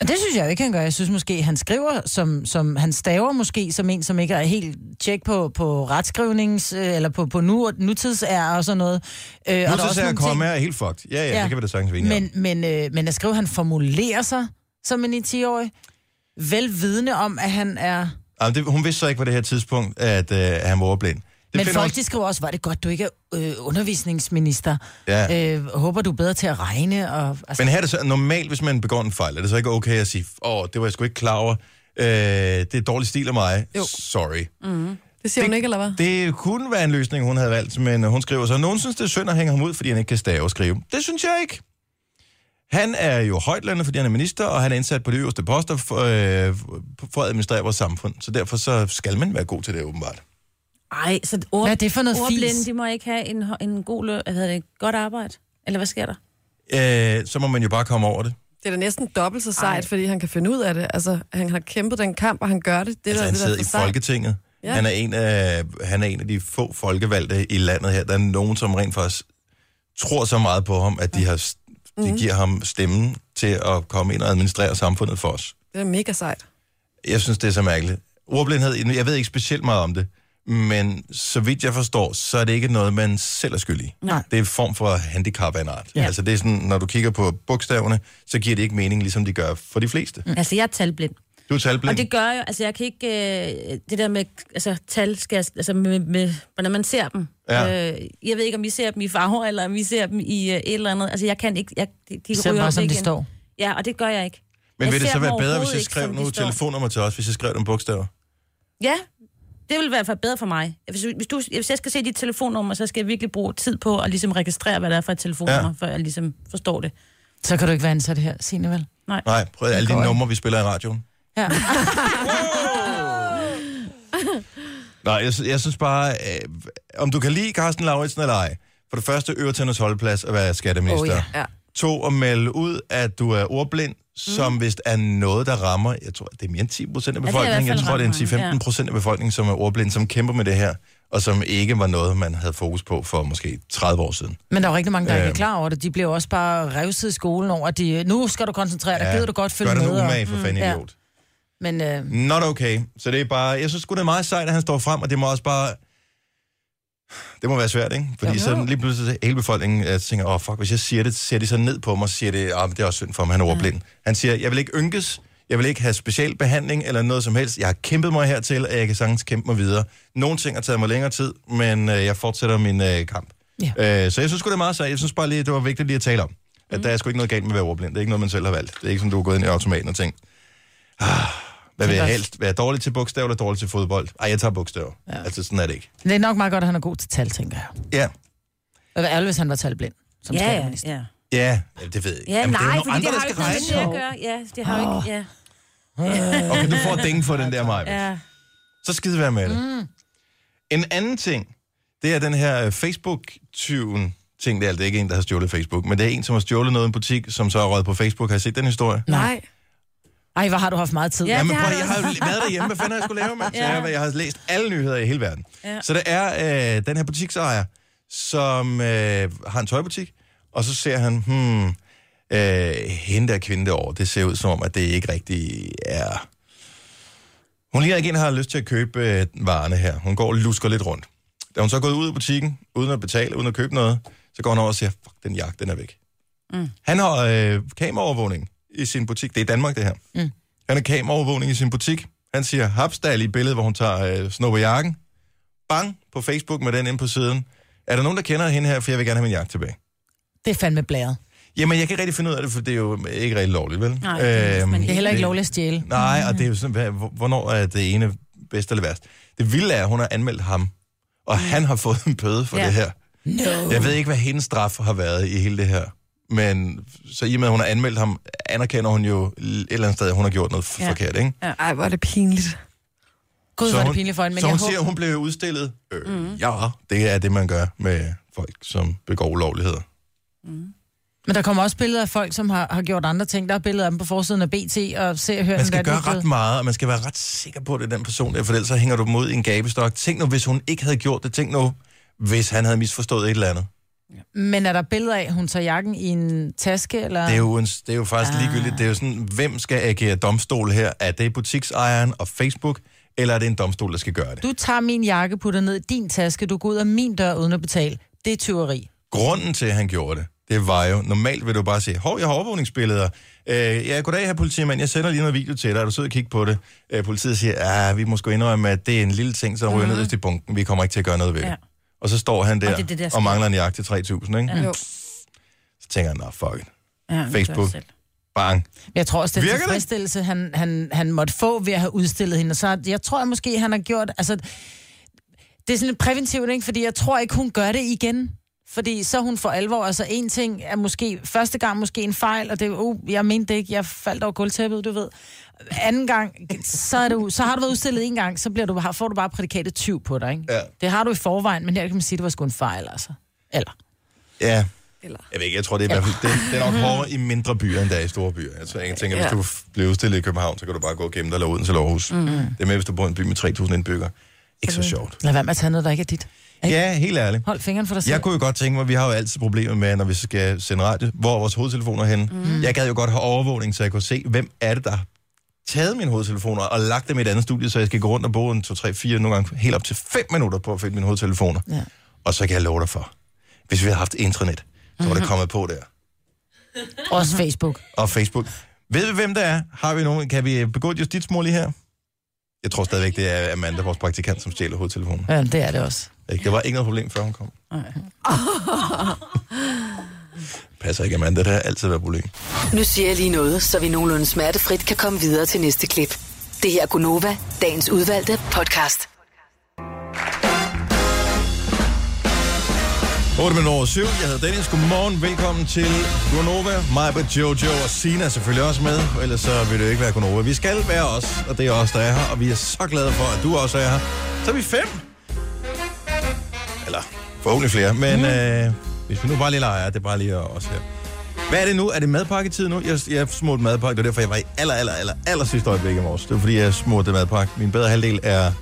Speaker 3: Og det synes jeg jo ikke, han gør. Jeg synes måske, han skriver, som, som han staver måske, som en, som ikke er helt tjek på, på retskrivnings, øh, eller på, på nu, nutidsager og sådan noget. Øh, og der er
Speaker 1: Nu
Speaker 3: også
Speaker 1: så ser jeg, at
Speaker 3: nogle ting-
Speaker 1: komme er helt fucked. Ja, ja, ja,
Speaker 3: Ja.
Speaker 1: det kan vi da sagtens være enige om.
Speaker 3: Men, men, øh, men at skrive, han formulerer sig som en 10-årig, velvidende om, at han er...
Speaker 1: Jamen, det, hun vidste så ikke på det her tidspunkt, at øh, han var ordblind. Det
Speaker 3: Men
Speaker 1: finder hun-
Speaker 3: folk, de skriver også, var det godt, du ikke er øh, undervisningsminister.
Speaker 1: Ja.
Speaker 3: Øh, håber du er bedre til at regne. Og, altså,
Speaker 1: Men her er det så, normalt, hvis man begår en fejl, er det så ikke okay at sige, åh, det var jeg sgu ikke klar over, øh, det er dårlig stil af mig, jo. sorry. Mm.
Speaker 4: Det siger hun ikke, eller hvad?
Speaker 1: Det kunne være en løsning, hun havde valgt, men hun skriver så, nogen synes, det er synd at hænge ham ud, fordi han ikke kan stave og skrive. Det synes jeg ikke. Han er jo højtlandet, fordi han er minister, og han er indsat på de øverste poster for, øh, for at administrere vores samfund. Så derfor så skal man være god til det, åbenbart.
Speaker 2: Ej, så ord,
Speaker 3: Hvad er det for noget
Speaker 2: ordblinde,
Speaker 3: fis?
Speaker 2: de må ikke have en, hø- en god lø, hvad hedder det, godt arbejde? Eller hvad sker der?
Speaker 1: Øh, så må man jo bare komme over det.
Speaker 4: Det er da næsten dobbelt så sejt, fordi han kan finde ud af det. Altså, han har kæmpet den kamp, og han gør det. Det
Speaker 1: Altså,
Speaker 4: er da-
Speaker 1: han
Speaker 4: det, der
Speaker 1: sidder
Speaker 4: er
Speaker 1: i
Speaker 4: for sejt.
Speaker 1: Folketinget. Ja.
Speaker 4: Ja.
Speaker 1: Han, er en af, han er en af de få folkevalgte i landet her. Der er nogen, som rent faktisk tror så meget på ham, at de, har, de
Speaker 4: Mhm.
Speaker 1: giver ham stemmen til at komme ind og administrere samfundet for os.
Speaker 4: Det er da mega sejt. jeg
Speaker 1: Jeg synes, det er så mærkeligt. Ordblindhed, jeg ved ikke specielt meget om det, men så vidt jeg forstår, så er det ikke noget, man selv er skyldig.
Speaker 3: Nej.
Speaker 1: Det er en form for handicap af en art. Ja. Altså det er sådan, når du kigger på bogstaverne, så giver det ikke mening, ligesom de gør for de fleste.
Speaker 2: Mm. Altså, jeg er talblind.
Speaker 1: Du er talblind.
Speaker 2: Og det gør jo, altså jeg kan ikke, øh, det der med, altså tal, skal, jeg- altså med, med, hvordan man ser dem.
Speaker 1: Ja.
Speaker 2: Øh, jeg ved ikke, om I ser dem i farver, eller om I ser dem i øh, et eller andet. Altså jeg kan ikke, jeg, de, de
Speaker 3: ser
Speaker 2: ryger
Speaker 3: bare,
Speaker 2: op
Speaker 3: som de
Speaker 2: igen.
Speaker 3: står.
Speaker 2: Ja, og det gør jeg ikke.
Speaker 1: Men
Speaker 2: jeg
Speaker 1: vil det
Speaker 2: ser
Speaker 1: så
Speaker 2: dem
Speaker 1: være bedre, hvis
Speaker 2: overhovedet
Speaker 1: jeg
Speaker 2: ikke,
Speaker 1: skrev
Speaker 2: som de
Speaker 1: nu
Speaker 2: står.
Speaker 1: telefonnummer til os, hvis jeg skrev nogle bogstaver?
Speaker 2: Ja, det vil i hvert fald bedre for mig. Hvis, hvis, du, hvis jeg skal se dit telefonnummer, så skal jeg virkelig bruge tid på at ligesom registrere, hvad det er for et telefonnummer,
Speaker 1: Ja.
Speaker 2: ja. før jeg ligesom forstår det.
Speaker 3: Så kan du ikke være ansat her, Signe vel?
Speaker 1: Nej, prøv alle de numre, vi spiller i radioen.
Speaker 3: Ja.
Speaker 1: Nej, jeg, sy- jeg synes bare, øh, om du kan lide Carsten Lauritsen eller ej, for det første øver til hendes holdplads at være skatteminister. Oh,
Speaker 4: Ja.
Speaker 1: To, at melde ud, at du er ordblind,
Speaker 2: Mhm.
Speaker 1: som mm. vist er noget, der rammer, jeg tror, det er mere end 10 procent af
Speaker 2: det er i hvert
Speaker 1: befolkningen, jeg
Speaker 2: fald
Speaker 1: tror, det er en
Speaker 2: ret mange,
Speaker 1: 10-15 procent af befolkningen, som er ordblind, som kæmper med det her, og som ikke var noget, man havde fokus på for måske 30 år siden.
Speaker 3: Men der er jo rigtig mange, der ikke
Speaker 1: Øhm.
Speaker 3: er klar over det. De bliver jo også bare revset i skolen over, at de, nu skal du koncentrere dig, ja. gider du godt følge
Speaker 1: Gør dig
Speaker 3: med.
Speaker 1: nu
Speaker 3: og- Mm.
Speaker 1: umage, for
Speaker 2: Mm,
Speaker 1: fanden
Speaker 3: ja.
Speaker 1: idiot.
Speaker 3: Men øh,
Speaker 1: Not okay. Så det er bare, jeg synes sgu, det er meget sejt, at han står frem, og det må også bare... Det må være svært, ikke? Fordi
Speaker 3: Jo.
Speaker 1: så lige pludselig så hele befolkningen øh, tænker, åh oh, fuck, hvis jeg siger det, ser de så ned på mig, og siger det, ah, men det er også synd for mig, han er ordblind. Han siger, jeg vil ikke ynkes, jeg vil ikke have special behandling eller noget som helst. Jeg har kæmpet mig hertil, og jeg kan sagtens kæmpe mig videre. Nogle ting har taget mig længere tid, men øh, jeg fortsætter min øh, kamp. Ja. Øh, så jeg synes sgu, det er meget sejt. Jeg synes bare lige, det var vigtigt lige at tale om. At der er sgu ikke noget galt med at være ordblind. Det er ikke noget, man selv har valgt. Det er ikke som, du er gået ind i automaten og tænkt, hvad vil jeg helst? Være dårlig til bogstaver eller dårlig til fodbold? Ej, jeg tager bogstaver. Ja. Altså, sådan er det ikke.
Speaker 3: det er nok meget godt, at han er god til tal, tænker jeg.
Speaker 1: Ja.
Speaker 3: Og hvad ærligt, hvis han var talblind som ja,
Speaker 2: Ja,
Speaker 3: skatteminister.
Speaker 2: ja, ja.
Speaker 1: Ja, Jamen, det ved jeg ikke.
Speaker 2: Ja,
Speaker 1: det er jo
Speaker 2: nej,
Speaker 1: nogle
Speaker 2: fordi
Speaker 1: andre,
Speaker 2: det
Speaker 1: der
Speaker 2: har jo
Speaker 1: skal
Speaker 2: ikke noget med
Speaker 1: regne.
Speaker 2: det at gøre. Ja, det har jo ikke, ja.
Speaker 1: Okay, du får dænge for den der, Maja. Ja.
Speaker 2: ja.
Speaker 1: Så skide være med det. Mm. En anden ting, det er den her øh, Facebook-tyven ting. Det er altså ikke en, der har stjålet Facebook, men det er en, som har stjålet noget i en butik, som så har røget på Facebook. Har I set den historie?
Speaker 4: Nej.
Speaker 3: Ej, hvor har du haft meget tid.
Speaker 2: Ja.
Speaker 3: Ja.
Speaker 1: Jamen,
Speaker 2: det har
Speaker 1: prøv, jeg
Speaker 2: jeg
Speaker 1: har jo været derhjemme. Hvad fanden har jeg skulle lave, mand? Ja. Jeg, jeg har læst alle nyheder i hele verden. Ja. Så der er øh, den her butiksejer, som øh, har en tøjbutik, og så ser han, hmm, øh, hende der kvinde derovre, det ser ud som om, at det ikke rigtig er... Hun ligner ikke en, der har lyst til at købe øh, varerne her. Hun går og lusker lidt rundt. Da hun så er gået ud af butikken, uden at betale, uden at købe noget, så går hun over og siger, fuck, den jakke, den er væk. Mm. Han har øh, kameraovervågning i sin butik. Det er i Danmark, det her. Han har kameraovervågning i sin butik. Han siger, hapsdal i billedet, hvor hun tager øh, snupper jakken. Bang på Facebook med den ind på siden. Er der nogen, der kender hende her, for jeg vil gerne have min jakke tilbage?
Speaker 3: Det er fandme blæret.
Speaker 1: Jamen, jeg kan ikke rigtig finde ud af det, for det er jo ikke rigtig lovligt, vel?
Speaker 2: Nej, det er man
Speaker 3: Det er heller ikke lovligt at stjæle.
Speaker 1: Nej, og det er jo sådan, hvad, hvor- hvornår er det ene bedst eller værst? Det vilde er, at hun har anmeldt ham, og han har fået en bøde for ja.
Speaker 2: Ja.
Speaker 1: det her.
Speaker 3: Mm. No.
Speaker 1: Jeg ved ikke, hvad hendes straf har været i hele det her. Men så i og med, at hun har anmeldt ham, anerkender hun jo et eller andet sted, at hun har gjort noget ja.
Speaker 2: Ja.
Speaker 1: forkert, ikke?
Speaker 4: Ej, hvor er det pinligt.
Speaker 3: Gud,
Speaker 1: Så
Speaker 3: hvor er det
Speaker 1: hun-
Speaker 3: pinligt for hende, men
Speaker 1: så
Speaker 3: jeg
Speaker 1: hun
Speaker 3: håber...
Speaker 1: siger, hun blev udstillet. Øh, mm. Ja, det er det, man gør med folk, som begår ulovligheder.
Speaker 3: Men der kommer også billeder af folk, som har, har gjort andre ting. Der er billeder af dem på forsiden af BT og se og høre
Speaker 1: Man
Speaker 3: den,
Speaker 1: skal
Speaker 3: der
Speaker 1: gøre
Speaker 3: er blevet-
Speaker 1: ret meget, og man skal være ret sikker på, at det er den person, der, for ellers så hænger du dem ud i en gabestok. Tænk nu, hvis hun ikke havde gjort det. Tænk nu, hvis han havde misforstået et eller andet.
Speaker 3: Men er der billeder af, hun tager jakken i en taske? Eller?
Speaker 1: Det er jo, en, det er jo faktisk ah. ligegyldigt. Det er jo sådan, hvem skal agere domstol her? Er det butiksejeren og Facebook, eller er det en domstol, der skal gøre det?
Speaker 3: Du tager min jakke, putter ned i din taske, du går ud af min dør uden at betale. Det er tyveri.
Speaker 1: Grunden til, at han gjorde det, det var jo, normalt vil du bare sige, hov, jeg har overvågningsbilleder. Øh, ja, goddag her politimand, jeg sender lige noget video til dig, er du sød at kigge på det? Øh, politiet siger, ja, vi må sgu indrømme, at det er en lille ting, som ryger mm-hmm. ned i bunken, vi kommer ikke til at gøre noget ved det. Ja.
Speaker 2: Mhm. Ja.
Speaker 1: Og så står han der og,
Speaker 2: det er det, der
Speaker 1: der
Speaker 2: sker.
Speaker 1: og mangler en jagt til 3.000, ikke? Ja.
Speaker 4: Jo.
Speaker 1: Så tænker han, nah, fuck it.
Speaker 2: Ja, det
Speaker 1: Facebook.
Speaker 2: gør jeg selv.
Speaker 1: Bang.
Speaker 3: Men jeg tror også, det er
Speaker 1: Virker
Speaker 3: en
Speaker 1: det?
Speaker 3: tilfredsstillelse, han, han, han måtte få ved at have udstillet hende. Og Så jeg tror at måske, han har gjort... Altså, det er sådan lidt præventivt, ikke? fordi jeg tror ikke, hun gør det igen. Fordi så er hun for alvor, altså en ting er måske, første gang måske en fejl, og det er, oh, jeg mente det ikke, jeg faldt over gulvtæppet, du ved. Anden gang, så, er du, så har du været udstillet en gang, så bliver du, har- får du bare prædikatet 20 på dig, ikke?
Speaker 1: Ja.
Speaker 3: Det har du i forvejen, men her kan man sige, at det var sgu en fejl, altså. Eller.
Speaker 1: Ja,
Speaker 4: Eller...
Speaker 1: jeg ved ikke, jeg tror, det er i hvert fald, det, det er nok hårdere i mindre byer, end der er i store byer. Altså, Jeg tror, jeg tænker, hvis
Speaker 4: Ja.
Speaker 1: du f- bliver udstillet i København, så kan du bare gå og gemme dig eller Odense eller Aarhus.
Speaker 2: Mm-hmm.
Speaker 1: Mm. Det er med, hvis du bor i en by med 3.000 indbyggere. Ikke så sjovt.
Speaker 3: Lad være med at tage noget, der ikke er dit. Ikke?
Speaker 1: Ja, helt ærligt.
Speaker 3: Hold fingeren for dig selv.
Speaker 1: Jeg kunne jo godt tænke mig, vi har jo altid problemer med, når vi skal sende radio, hvor er vores hovedtelefoner er henne. Mm. Jeg gad jo godt have overvågning, så jeg kunne se, hvem er det, der har taget mine hovedtelefoner og lagt dem i et andet studie, så jeg skal gå rundt og bruge en 2, 3, 4, nogle gange helt op til 5 minutter på at finde mine hovedtelefoner.
Speaker 3: Ja.
Speaker 1: Og så kan jeg love dig for, hvis vi havde haft intranet, så var det kommet på der.
Speaker 3: Også Facebook.
Speaker 1: Og Facebook. Ved vi, hvem det er? Har vi nogen? Kan vi begå et justitsmål lige her? Jeg tror stadigvæk, det er Amanda, vores praktikant, som stjæler hovedtelefonen.
Speaker 3: Ja, det er det også.
Speaker 1: Ikke? Der var ikke noget problem, før hun kom. Passer ikke, Amanda. Det har altid været et problem.
Speaker 5: Nu siger jeg lige noget, så vi nogenlunde smertefrit kan komme videre til næste klip. Det her er Gunova, dagens udvalgte podcast.
Speaker 1: 8 minutter over 7. Jeg hedder Dennis. Godmorgen. Velkommen til Gonova. Mig, Jojo og Sina er selvfølgelig også med. for Ellers så vil det jo ikke være Gonova. Vi skal være os, og det er os, der er her. Og vi er så glade for, at du også er her. Så er vi fem. Eller forhåbentlig flere. Men mm. øh, hvis vi nu bare lige leger, det er bare lige os her. Hvad er det nu? Er det madpakketid nu? Jeg, jeg smurte madpakke. Det var derfor, jeg var i aller, aller, aller, aller sidste øjeblik i morges. Det var, fordi jeg smurte madpakke. Min bedre halvdel er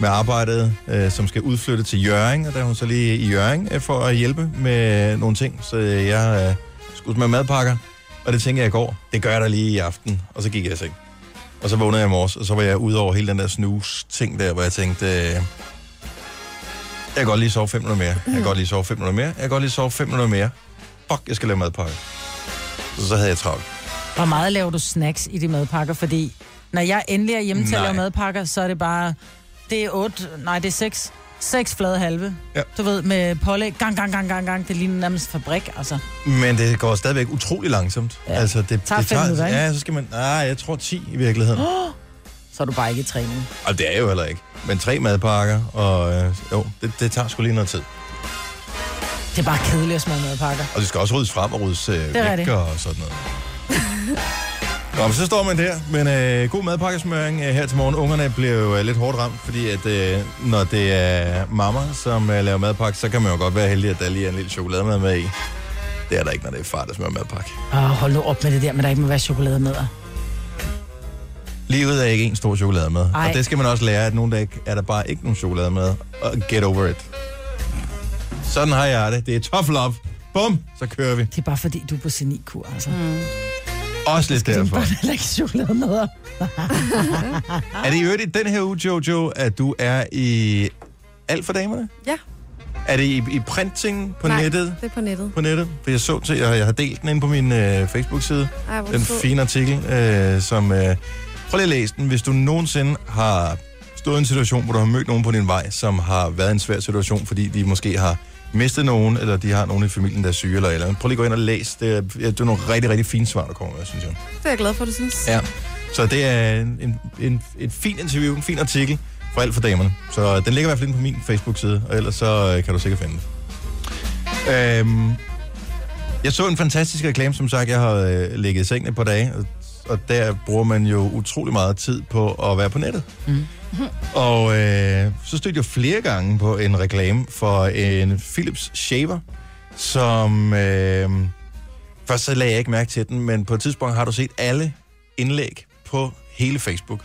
Speaker 1: med arbejdet, øh, som skal udflytte til Jøring, og der er hun så lige i Jøring øh, for at hjælpe med nogle ting. Så øh, jeg øh, skulle med madpakker, og det tænker jeg i går. Det gør jeg da lige i aften, og så gik jeg i seng. Og så vågnede jeg i morges, og så var jeg ude over hele den der snus-ting der, hvor jeg tænkte, øh, jeg kan godt lige sove fem minutter mere, jeg kan godt lige sove fem minutter mere, jeg kan godt lige sove fem minutter mere. Fuck, jeg skal lave madpakke. Så, så havde jeg travlt.
Speaker 3: Hvor meget laver du snacks i de madpakker? Fordi når jeg endelig er hjemme til at
Speaker 1: Nej.
Speaker 3: lave madpakker, så er det bare... Det er otte... Nej, det er seks. Seks flade halve.
Speaker 1: Ja.
Speaker 3: Du ved, med pålæg. Gang, gang, gang, gang, gang. Det ligner nærmest fabrik, altså.
Speaker 1: Men det går stadigvæk utrolig langsomt. Ja. Altså, det,
Speaker 3: Tager
Speaker 1: det
Speaker 3: fem minutter, ikke?
Speaker 1: Ja, så skal man... Nej, jeg tror 10 i virkeligheden.
Speaker 3: Så er du bare ikke i træning.
Speaker 1: Og det er jo heller ikke. Men tre madpakker, og øh, jo, det, det tager sgu lige noget tid.
Speaker 3: Det er bare kedeligt at smage madpakker.
Speaker 1: Og det skal også ryddes frem og ryddes øh,
Speaker 3: er
Speaker 1: væk
Speaker 3: rigtigt.
Speaker 1: og sådan noget. Nå, men så står man der. Men øh, god madpakkesmøring øh, her til morgen. Ungerne blev jo øh, lidt hårdt ramt, fordi at, øh, når det er mamma, som øh, laver madpakke, så kan man jo godt være heldig, at der lige er en lille chokolademad med i. Det er der ikke, når det er far, der smører madpakke.
Speaker 3: Åh, oh, hold nu op med det der, men der ikke må være chokolade med.
Speaker 1: Livet er ikke en stor chokolademad.
Speaker 3: Ej.
Speaker 1: Og det skal man også lære, at nogle dage er der bare ikke nogen chokolademad. Og get over it. Sådan har jeg det. Det er tough love. Bum, så kører vi.
Speaker 3: Det er bare fordi, du er på senikur, altså. Mm.
Speaker 1: Også lidt
Speaker 3: Det er
Speaker 1: derfor.
Speaker 3: bare heller ikke chokolade med.
Speaker 1: Er det i øvrigt i den her uge, Jojo, at du er i alt for damerne?
Speaker 4: Ja.
Speaker 1: Er det i, i printing på
Speaker 4: Nej,
Speaker 1: nettet?
Speaker 4: det er på nettet.
Speaker 1: På nettet? For jeg så til, og jeg har delt den inde på min øh, Facebook-side.
Speaker 4: Ej, hvor
Speaker 1: Den
Speaker 4: sød.
Speaker 1: fine artikel, øh, som... Øh, prøv lige at læse den. Hvis du nogensinde har stået i en situation, hvor du har mødt nogen på din vej, som har været i en svær situation, fordi de måske har mistet nogen, eller de har nogen i familien, der er syge eller et eller andet. Prøv lige at gå ind og læs. Det er, det er nogle rigtig, rigtig fine svar, der kommer med, synes jeg.
Speaker 4: Det er jeg glad for, du synes.
Speaker 1: Ja. Så det er en, en, en, et fint interview, en fin artikel for alt for damerne. Så den ligger i hvert fald inde på min Facebook-side, og ellers så øh, kan du sikkert finde den. Øhm, jeg så en fantastisk reklame, som sagt, jeg har øh, ligget i sengen et par dage, og, og der bruger man jo utrolig meget tid på at være på nettet. Mm. Og øh, så stødte jeg flere gange på en reklame for en Philips shaver, som... Øh, først så lagde jeg ikke mærke til den, men på et tidspunkt har du set alle indlæg på hele Facebook.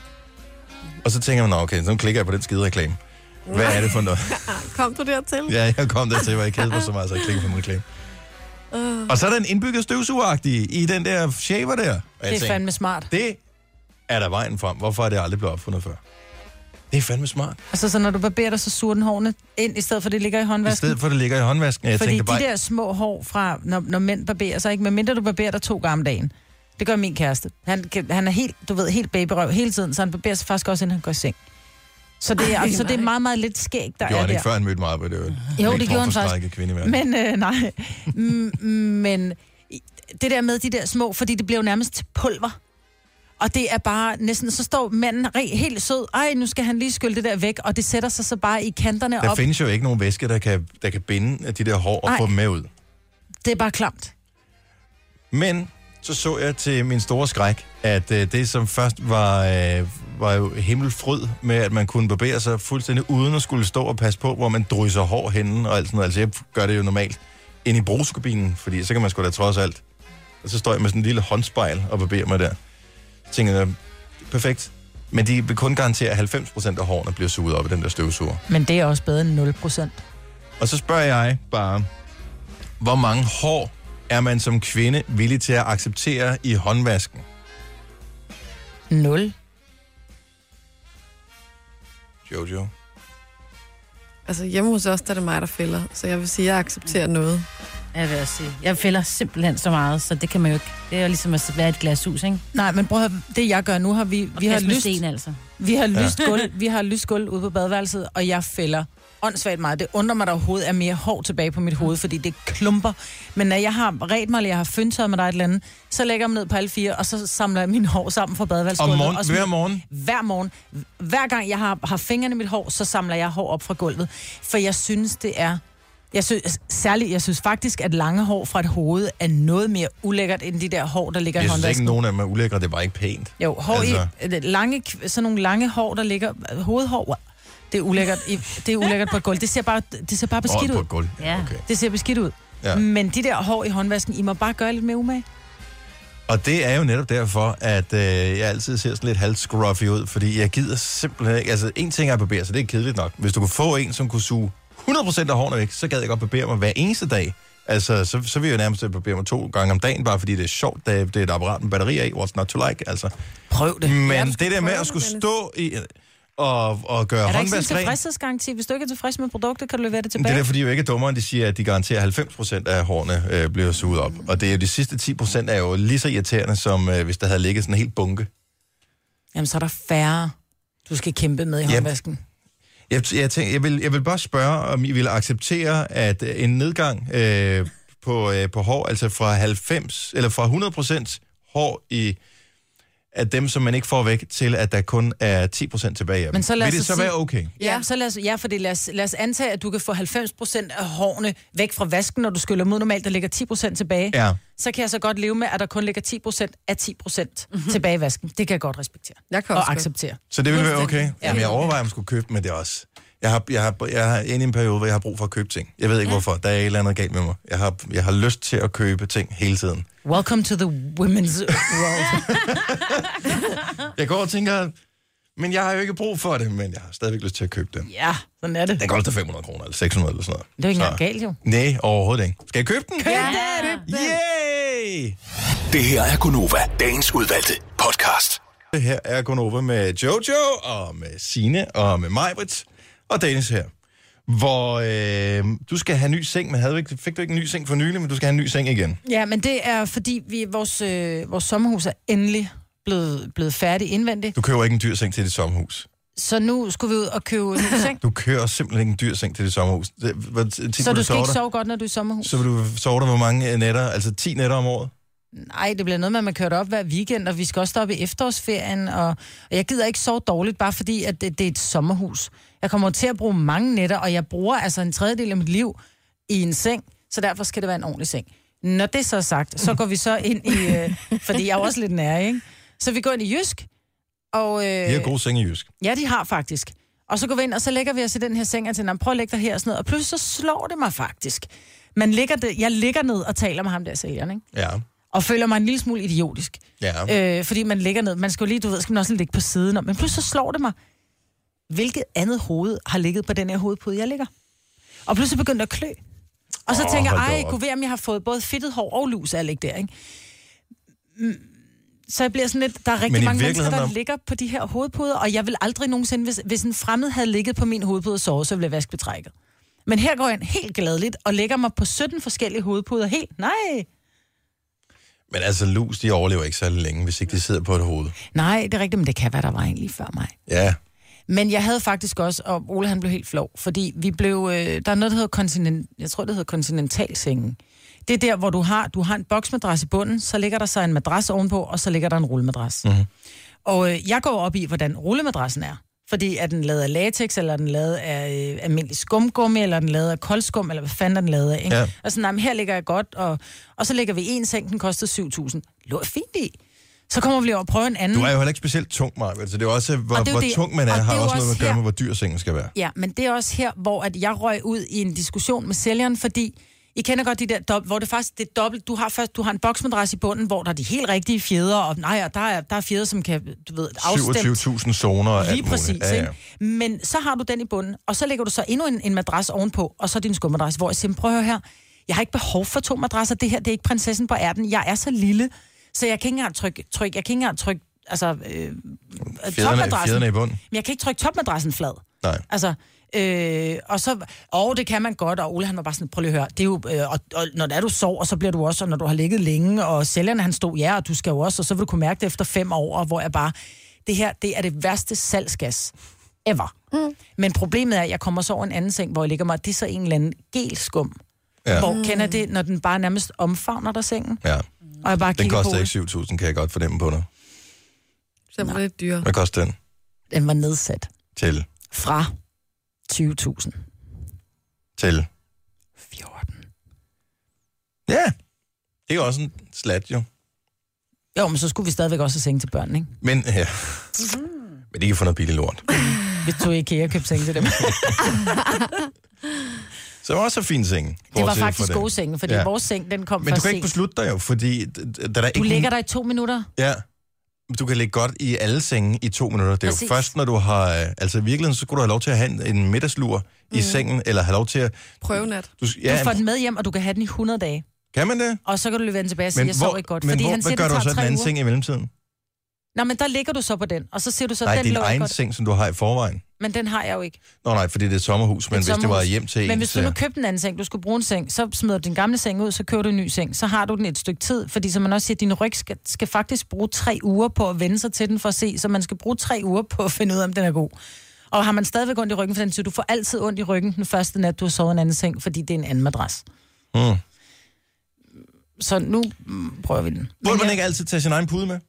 Speaker 1: Og så tænker man, "Nå, okay, så klikker jeg på den skide reklame. Hvad er det for noget?
Speaker 4: Kom du dertil?
Speaker 1: Ja, jeg kom der til, hvor jeg kede mig så meget, så jeg klikker på en reklame. Og så er der en indbygget støvsugeragtig i den der shaver der. Og jeg
Speaker 3: Det er
Speaker 1: tænker,
Speaker 3: fandme smart.
Speaker 1: det er der vejen frem. Hvorfor er det aldrig blevet opfundet før? Det er fandme smart.
Speaker 3: Altså, så når du barberer dig, så suger den hårene ind, i stedet for det ligger i
Speaker 1: I
Speaker 3: håndvasken.
Speaker 1: stedet for, at det ligger i håndvasken. Jeg
Speaker 3: Fordi
Speaker 1: tænker
Speaker 3: de
Speaker 1: bare,
Speaker 3: der små hår fra, når, når mænd barberer sig, ikke? Medmindre du barberer dig to gange om dagen. Det gør min kæreste. Han, kan- han er helt, du ved, helt babyrøv hele tiden, så han barberer sig faktisk også, inden han går i seng. Så det er, Ej, så det er meget, meget lidt skæg, der
Speaker 1: gjorde
Speaker 3: er
Speaker 1: han
Speaker 3: der.
Speaker 1: ikke, før han mødte mig. Jo, det, var en
Speaker 3: gjorde
Speaker 1: lidt
Speaker 3: han faktisk.
Speaker 1: forforstrækket Kvinde, i verden.
Speaker 3: Men, øh, nej. M- men i- det der med de der små, fordi det bliver jo nærmest til pulver. Og det er bare næsten, så står manden re- helt sød. Ej, nu skal han lige skylle det der væk, og det sætter sig så bare i kanterne
Speaker 1: der
Speaker 3: op.
Speaker 1: findes jo ikke nogen væske, der kan, der kan binde de der hår og
Speaker 3: Nej.
Speaker 1: få dem med ud.
Speaker 3: Det er bare klamt.
Speaker 1: Men så så jeg til min store skræk, at øh, det som først var, øh, var jo himmelfryd med, at man kunne barbere sig fuldstændig uden at skulle stå og passe på, hvor man drysser hår henne og alt sådan noget. Altså jeg gør det jo normalt ind i brugskabinen, fordi så kan man sgu da trods alt. Og så står jeg med sådan en lille håndspejl og barberer mig der. Så tænker jeg, perfekt. Men de vil kun garantere, at 90% af hårene bliver suget op i den der støvsuger.
Speaker 3: Men det er også bedre end 0 procent.
Speaker 1: Og så spørger jeg bare, hvor mange hår er man som kvinde villig til at acceptere i håndvasken?
Speaker 3: 0.
Speaker 1: Jojo.
Speaker 4: Altså hjemme hos os, der er det mig, der fælder. Så jeg vil sige, at jeg accepterer noget.
Speaker 2: Jeg vil også sige. Jeg fælder simpelthen så meget, så det kan man jo ikke. Det er jo ligesom at være i et glas hus, ikke?
Speaker 3: Nej, men prøv at høre, det jeg gør nu, har vi, vi har lyst,
Speaker 2: lyst. altså.
Speaker 3: vi har lyst gulv, vi har lyst gulv ude på badeværelset, og jeg fælder åndssvagt meget. Det undrer mig, at der overhovedet er mere hår tilbage på mit hoved, fordi det klumper. Men når jeg har ret mig, eller jeg har fyndtøjet med dig et eller andet, så lægger jeg dem ned på alle fire, og så samler jeg mine hår sammen fra
Speaker 1: Om
Speaker 3: badeværelsesgulvet.
Speaker 1: morgen,
Speaker 3: og smider-
Speaker 1: hver morgen.
Speaker 3: hver morgen. Hver gang jeg har, har fingrene i mit hår, så samler jeg hår op fra gulvet. For jeg synes, det er... Jeg synes, særligt, jeg synes faktisk, at lange hår fra et hoved er noget mere ulækkert, end de der hår, der ligger i
Speaker 1: Jeg synes ikke,
Speaker 3: håndvasken.
Speaker 1: nogen af dem er ulækre. Det var ikke pænt.
Speaker 3: Jo, hår altså...
Speaker 1: Altså.
Speaker 3: i, lange, kv- sådan nogle lange hår, der ligger... Hovedhår, det er ulækkert, i, det er ulækkert på et gulv. Det ser bare, det ser bare beskidt
Speaker 1: Åh, på
Speaker 3: ud.
Speaker 1: et gulv.
Speaker 2: Ja.
Speaker 1: Okay.
Speaker 3: Det ser beskidt ud.
Speaker 1: Ja.
Speaker 3: Men de der hår i håndvasken, I må bare gøre lidt mere umage.
Speaker 1: Og det er jo netop derfor, at øh, jeg altid ser sådan lidt halvt scruffy ud, fordi jeg gider simpelthen ikke. Altså, en ting er at barbere sig, det er kedeligt nok. Hvis du kunne få en, som kunne suge 100% af hårene væk, så gad jeg godt barbere mig hver eneste dag. Altså, så, så vil jeg jo nærmest barbere mig to gange om dagen, bare fordi det er sjovt, da det er et apparat med batteri af, what's not to like, altså.
Speaker 3: Prøv det.
Speaker 1: Men
Speaker 4: du skal
Speaker 1: det der med
Speaker 4: prøve
Speaker 1: at skulle
Speaker 4: det,
Speaker 1: stå i, og, og gøre
Speaker 3: Er der ikke sådan en
Speaker 1: håndvask ren,
Speaker 3: tilfredshedsgaranti? Hvis du ikke er tilfreds med produktet, kan du levere det
Speaker 1: Men Det
Speaker 3: tilbage.
Speaker 1: er derfor, de er jo ikke dummere, end de siger, at de garanterer, at 90% af hårene øh, bliver suget op. Og det er jo de sidste 10% er jo lige så irriterende, som øh, hvis der havde ligget sådan en helt bunke.
Speaker 3: Jamen, så er der færre, du skal kæmpe med i håndvasken.
Speaker 1: Jeg, jeg, tænker, jeg, vil, jeg vil bare spørge, om I vil acceptere, at øh, en nedgang øh, på, øh, på hår, altså fra 90, eller fra 100% hår i af dem, som man ikke får væk, til at der kun er 10% tilbage af dem.
Speaker 3: Men så lad
Speaker 1: Vil
Speaker 3: os
Speaker 1: det
Speaker 3: så
Speaker 1: så
Speaker 3: sige-
Speaker 1: være okay?
Speaker 3: Ja, så lad os, ja fordi lad os, lad os antage, at du kan få 90% af hårene væk fra vasken, når du skyller mod normalt, der ligger 10% tilbage.
Speaker 1: Ja.
Speaker 3: Så kan jeg så godt leve med, at der kun ligger 10% af 10% mm-hmm. tilbage i vasken. Det kan jeg godt respektere.
Speaker 4: Jeg kan også
Speaker 3: og
Speaker 4: godt.
Speaker 3: acceptere.
Speaker 1: Så det vil være okay?
Speaker 3: Fuldstændig.
Speaker 1: Ja. Jamen, jeg overvejer, om jeg skulle købe dem, men det er også... Jeg har, jeg, har, jeg har inde i en periode, hvor jeg har brug for at købe ting. Jeg ved ikke, ja. hvorfor. Der er et eller andet galt med mig. Jeg har, jeg har lyst til at købe ting hele tiden.
Speaker 3: Welcome to the women's world.
Speaker 1: Jeg går og tænker, men jeg har jo ikke brug for det, men jeg har stadigvæk lyst til at købe det.
Speaker 3: ja, sådan er det.
Speaker 1: Den
Speaker 3: Det
Speaker 1: koster 500 kroner, eller 600 eller sådan noget.
Speaker 3: er jo ikke
Speaker 1: Så-
Speaker 3: engang galt, jo.
Speaker 1: Nej, overhovedet ikke. Skal jeg købe den? Køb
Speaker 4: Ja.
Speaker 1: Yay!
Speaker 6: Det her er Gunova, dagens udvalgte podcast.
Speaker 1: Det her er Gunova med Jojo, og med Sine og med Majbrit, og Dennis her. Hvor øh, du skal have en ny seng, men havde du ikke, fik du ikke en ny seng for nylig, men du skal have en ny seng igen.
Speaker 3: Ja, men det er, fordi vi, vores, øh, vores sommerhus er endelig blevet, blevet færdig indvendigt.
Speaker 1: Du køber ikke en dyr seng til dit sommerhus.
Speaker 3: Så nu skulle vi ud og købe en ny seng.
Speaker 1: Du kører simpelthen ikke en dyr seng til dit sommerhus. Det, hvor tit
Speaker 3: Så
Speaker 1: vil
Speaker 3: du skal ikke
Speaker 1: der?
Speaker 3: sove godt, når du er i sommerhus?
Speaker 1: Så vil du sove der hvor mange øh, nætter? Altså 10 nætter om året?
Speaker 3: Nej, det bliver noget med, at man kører op hver weekend, og vi skal også op i efterårsferien, og, og jeg gider ikke sove dårligt, bare fordi, at det, det er et sommerhus. Jeg kommer til at bruge mange nætter, og jeg bruger altså en tredjedel af mit liv i en seng, så derfor skal det være en ordentlig seng. Når det så er sagt, så går vi så ind i... Øh, fordi jeg er jo også lidt nær, ikke? Så vi går ind i Jysk, og... Øh,
Speaker 1: Det er gode senge i Jysk.
Speaker 3: Ja, de har faktisk. Og så går vi ind, og så lægger vi os i den her seng, og tænker, "Nå, prøv at lægge dig her og sådan noget. Og pludselig så slår det mig faktisk. Man ligger det, jeg ligger ned og taler med ham der sælgeren, ikke?
Speaker 1: Ja.
Speaker 3: Og føler mig en lille smule idiotisk.
Speaker 1: Ja.
Speaker 3: Øh, fordi man ligger ned. Man skal jo lige, du ved, skal man også ligge på siden. om. Men pludselig så slår det mig, hvilket andet hoved har ligget på den her hovedpude, jeg ligger. Og pludselig begyndte det at klø. Og så
Speaker 1: Åh,
Speaker 3: oh, tænker jeg,
Speaker 1: hold da
Speaker 3: ej,
Speaker 1: op."
Speaker 3: kunne være, om jeg har fået både fedtet hår og lus af at ligge der, ikke? Mm, Så jeg bliver sådan lidt, der er
Speaker 1: Men
Speaker 3: rigtig
Speaker 1: i
Speaker 3: mange mennesker, der
Speaker 1: virkeligheden er-
Speaker 3: ligger på de her hovedpuder, og jeg vil aldrig nogensinde, hvis, hvis en fremmed havde ligget på min hovedpude og sovet, så ville jeg vaske betrækket. Men her går jeg ind helt gladeligt og lægger mig på 17 forskellige hovedpuder helt. Nej,
Speaker 1: Men altså, lus, de overlever ikke særlig længe, hvis ikke de sidder på et hoved.
Speaker 3: nej, det er rigtigt, men det kan være, der var en lige før mig.
Speaker 1: Ja.
Speaker 3: Men jeg havde faktisk også, og Ole han blev helt flov, fordi vi blev, øh, der er noget, der hedder kontinent, jeg tror, det hedder kontinentalsengen. Det er der, hvor du har, du har en boksmadras i bunden, så ligger der så en madras ovenpå, og så ligger der en rullemadras. Mm-hmm. Og øh, jeg går op i, hvordan rullemadrassen er. Fordi er den lavet af latex, eller er den lavet af øh, almindelig skumgummi, eller er den lavet af koldskum, eller hvad fanden er den lavet af, ikke?
Speaker 1: Ja.
Speaker 3: Ja. Og sådan, nej, men her ligger jeg godt, og, og så ligger vi en seng, den kostede 7.000. Lå fint i. Så kommer vi lige over og prøver en anden.
Speaker 1: Du er jo heller ikke specielt tung, Maja. Altså, det er jo også, hvor,
Speaker 3: Mm. Og det
Speaker 1: det
Speaker 3: er jo
Speaker 1: hvor
Speaker 3: det-
Speaker 1: tung man er,
Speaker 3: og det
Speaker 1: har
Speaker 3: er jo
Speaker 1: også noget
Speaker 3: også
Speaker 1: at gøre
Speaker 3: her-
Speaker 1: med, hvor dyr sengen skal være.
Speaker 3: Ja, men det er også her, hvor at jeg røg ud i en diskussion med sælgeren, fordi I kender godt de der dobbelt, hvor det faktisk det er dobbelt. Du har først du har en boksmadras i bunden, hvor der er de helt rigtige fjeder, og nej, og der er, der er fjeder, som kan, du ved, afstemt.
Speaker 1: 27.000 zoner og alt
Speaker 3: Lige præcis,
Speaker 1: muligt.
Speaker 3: ja, ja. Ikke? Men så har du den i bunden, og så lægger du så endnu en, en madras ovenpå, og så din skummadras, hvor jeg siger, prøv at høre her, jeg har ikke behov for to madrasser, det her, det er ikke prinsessen på ærten, jeg er så lille, så jeg kan ikke engang trykke, tryk, jeg kan ikke engang trykke, altså, øh,
Speaker 1: Fjederne,
Speaker 3: topmadrassen.
Speaker 1: fjederne i bunden.
Speaker 3: Men jeg kan ikke trykke topmadrassen flad.
Speaker 1: Nej.
Speaker 3: Altså, øh, og så, og det kan man godt, og Ole han var bare sådan, prøv lige at høre, det er jo, øh, og, og, når det er, du sover, så bliver du også, og når du har ligget længe, og sælgerne han stod, ja, og du skal jo også, og så vil du kunne mærke det efter fem år, og hvor jeg bare, det her, det er det værste salgsgas ever. Mm. Men problemet er, at jeg kommer så over en anden seng, hvor jeg ligger mig, det er så en eller anden gelskum.
Speaker 1: Ja.
Speaker 3: Ja. Hvor kender det, når den bare nærmest omfavner dig sengen,
Speaker 1: Ja.
Speaker 3: og jeg bare
Speaker 1: Den
Speaker 3: kigger på,
Speaker 1: koster ikke 7.000, kan jeg godt fornemme på dig.
Speaker 4: Så bliver det lidt dyrere.
Speaker 1: Hvad koster den
Speaker 3: den var nedsat
Speaker 1: til?
Speaker 3: fra 20.000.
Speaker 1: Til?
Speaker 3: 14.
Speaker 1: Ja. Det er jo også en slat, jo.
Speaker 3: Jo, men så skulle vi stadigvæk også have senge til børnene, ikke?
Speaker 1: Men, ja.
Speaker 3: Mhm.
Speaker 1: Men de kan få noget billigt lort.
Speaker 3: Vi tog IKEA og købte senge til dem.
Speaker 1: Så var også en fin seng.
Speaker 3: Det var
Speaker 1: bortset fra
Speaker 3: faktisk
Speaker 1: den.
Speaker 3: gode senge, fordi
Speaker 1: Ja.
Speaker 3: ja. vores seng, den kom
Speaker 1: Men du
Speaker 3: først
Speaker 1: kan ikke
Speaker 3: sent.
Speaker 1: beslutte dig jo, fordi d- d- der er ikke...
Speaker 3: Du ligger der i to minutter.
Speaker 1: Ja. Men Du kan ligge godt i alle senge i to minutter. Det er
Speaker 3: Præcis.
Speaker 1: jo først, når du har... øh, Altså i virkeligheden, så skulle du have lov til at have en- en middagslur i sengen, eller have lov til at...
Speaker 4: Prøvenat.
Speaker 1: Du, s-
Speaker 3: Mm. Du
Speaker 1: ja,
Speaker 3: får den med hjem, og du kan have den i 100 dage.
Speaker 1: kan man det?
Speaker 3: Og så kan du løbe den tilbage og sige, Altså, jeg sov ikke godt.
Speaker 1: men
Speaker 3: Fordi
Speaker 1: hvor,
Speaker 3: han siger,
Speaker 1: hvad gør
Speaker 3: det
Speaker 1: du
Speaker 3: tager
Speaker 1: så i den
Speaker 3: tre
Speaker 1: anden
Speaker 3: uger.
Speaker 1: seng i mellemtiden?
Speaker 3: Nå, men der ligger du så på den, og så siger du så,
Speaker 1: Nej,
Speaker 3: den
Speaker 1: din
Speaker 3: lå jeg
Speaker 1: egen
Speaker 3: godt.
Speaker 1: seng, som du har i forvejen.
Speaker 3: Men den har jeg jo ikke.
Speaker 1: Nå nej, fordi det er et sommerhus, men
Speaker 3: Et
Speaker 1: hvis det var
Speaker 3: sommerhus.
Speaker 1: hjem til
Speaker 3: Men
Speaker 1: ens,
Speaker 3: hvis du nu
Speaker 1: øh,
Speaker 3: købte en anden seng, du skulle bruge en seng, så smider du din gamle seng ud, så køber du en ny seng. Så har du den et stykke tid, fordi som man også siger, din ryg skal, skal faktisk bruge tre uger på at vende sig til den for at se, så man skal bruge tre uger på at finde ud af, om den er god. Og har man stadigvæk ondt i ryggen, for den siger, du får altid ondt i ryggen den første nat, du har sovet i en anden seng, fordi det er en anden madras.
Speaker 1: Mm.
Speaker 3: Så nu mm, prøver vi den.
Speaker 1: Burde
Speaker 3: Men
Speaker 1: man
Speaker 3: jeg-
Speaker 1: ikke altid tage sin egen pude med?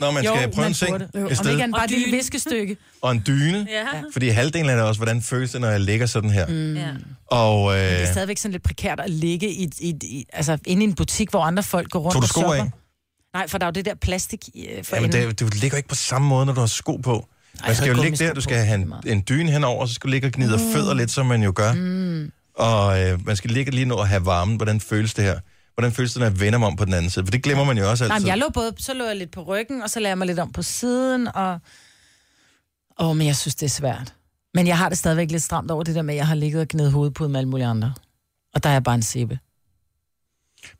Speaker 1: Nå, man skal
Speaker 3: Jo,
Speaker 1: prøve
Speaker 3: man
Speaker 1: en seng
Speaker 3: burde. Jo.
Speaker 1: i
Speaker 3: Om ikke
Speaker 1: stedet.
Speaker 3: han bare et lille
Speaker 2: dyne.
Speaker 3: viskestykke.
Speaker 1: Og en dyne.
Speaker 2: Ja.
Speaker 1: Fordi halvdelen af det er også, hvordan føles det, når jeg ligger sådan her. Mm.
Speaker 2: ja.
Speaker 1: Og øh,
Speaker 3: Det er stadigvæk sådan lidt prekært at ligge i, i, i, altså inde i en butik, hvor andre folk går rundt
Speaker 1: tog du
Speaker 3: og
Speaker 1: sko
Speaker 3: shopper.
Speaker 1: af?
Speaker 3: Nej, for der er jo det der plastik øh, for
Speaker 1: Jamen,
Speaker 3: enden.
Speaker 1: det, du ligger ikke på samme måde, når du har sko på. Man
Speaker 3: jeg
Speaker 1: skal
Speaker 3: har
Speaker 1: jo ligge
Speaker 3: gummisko
Speaker 1: der, du
Speaker 3: på. Mm.
Speaker 1: skal have en, en dyne henover, så skal du ligge og gnide mm. fødder lidt, som man jo gør. Mm. Og øh, man skal ligge lige nu og have varmen. Hvordan føles det her? Hvordan føles det, når jeg vender mig om på den anden side? For det glemmer man jo også altid.
Speaker 3: Nej, men jeg lå både, så lå jeg lidt på ryggen, og så lagde jeg mig lidt om på siden, og... Åh, oh, men jeg synes, det er svært. Men jeg har det stadigvæk lidt stramt over det der med, at jeg har ligget og gnedet hovedpuden med alle mulige andre. Og der er jeg bare en sæbe.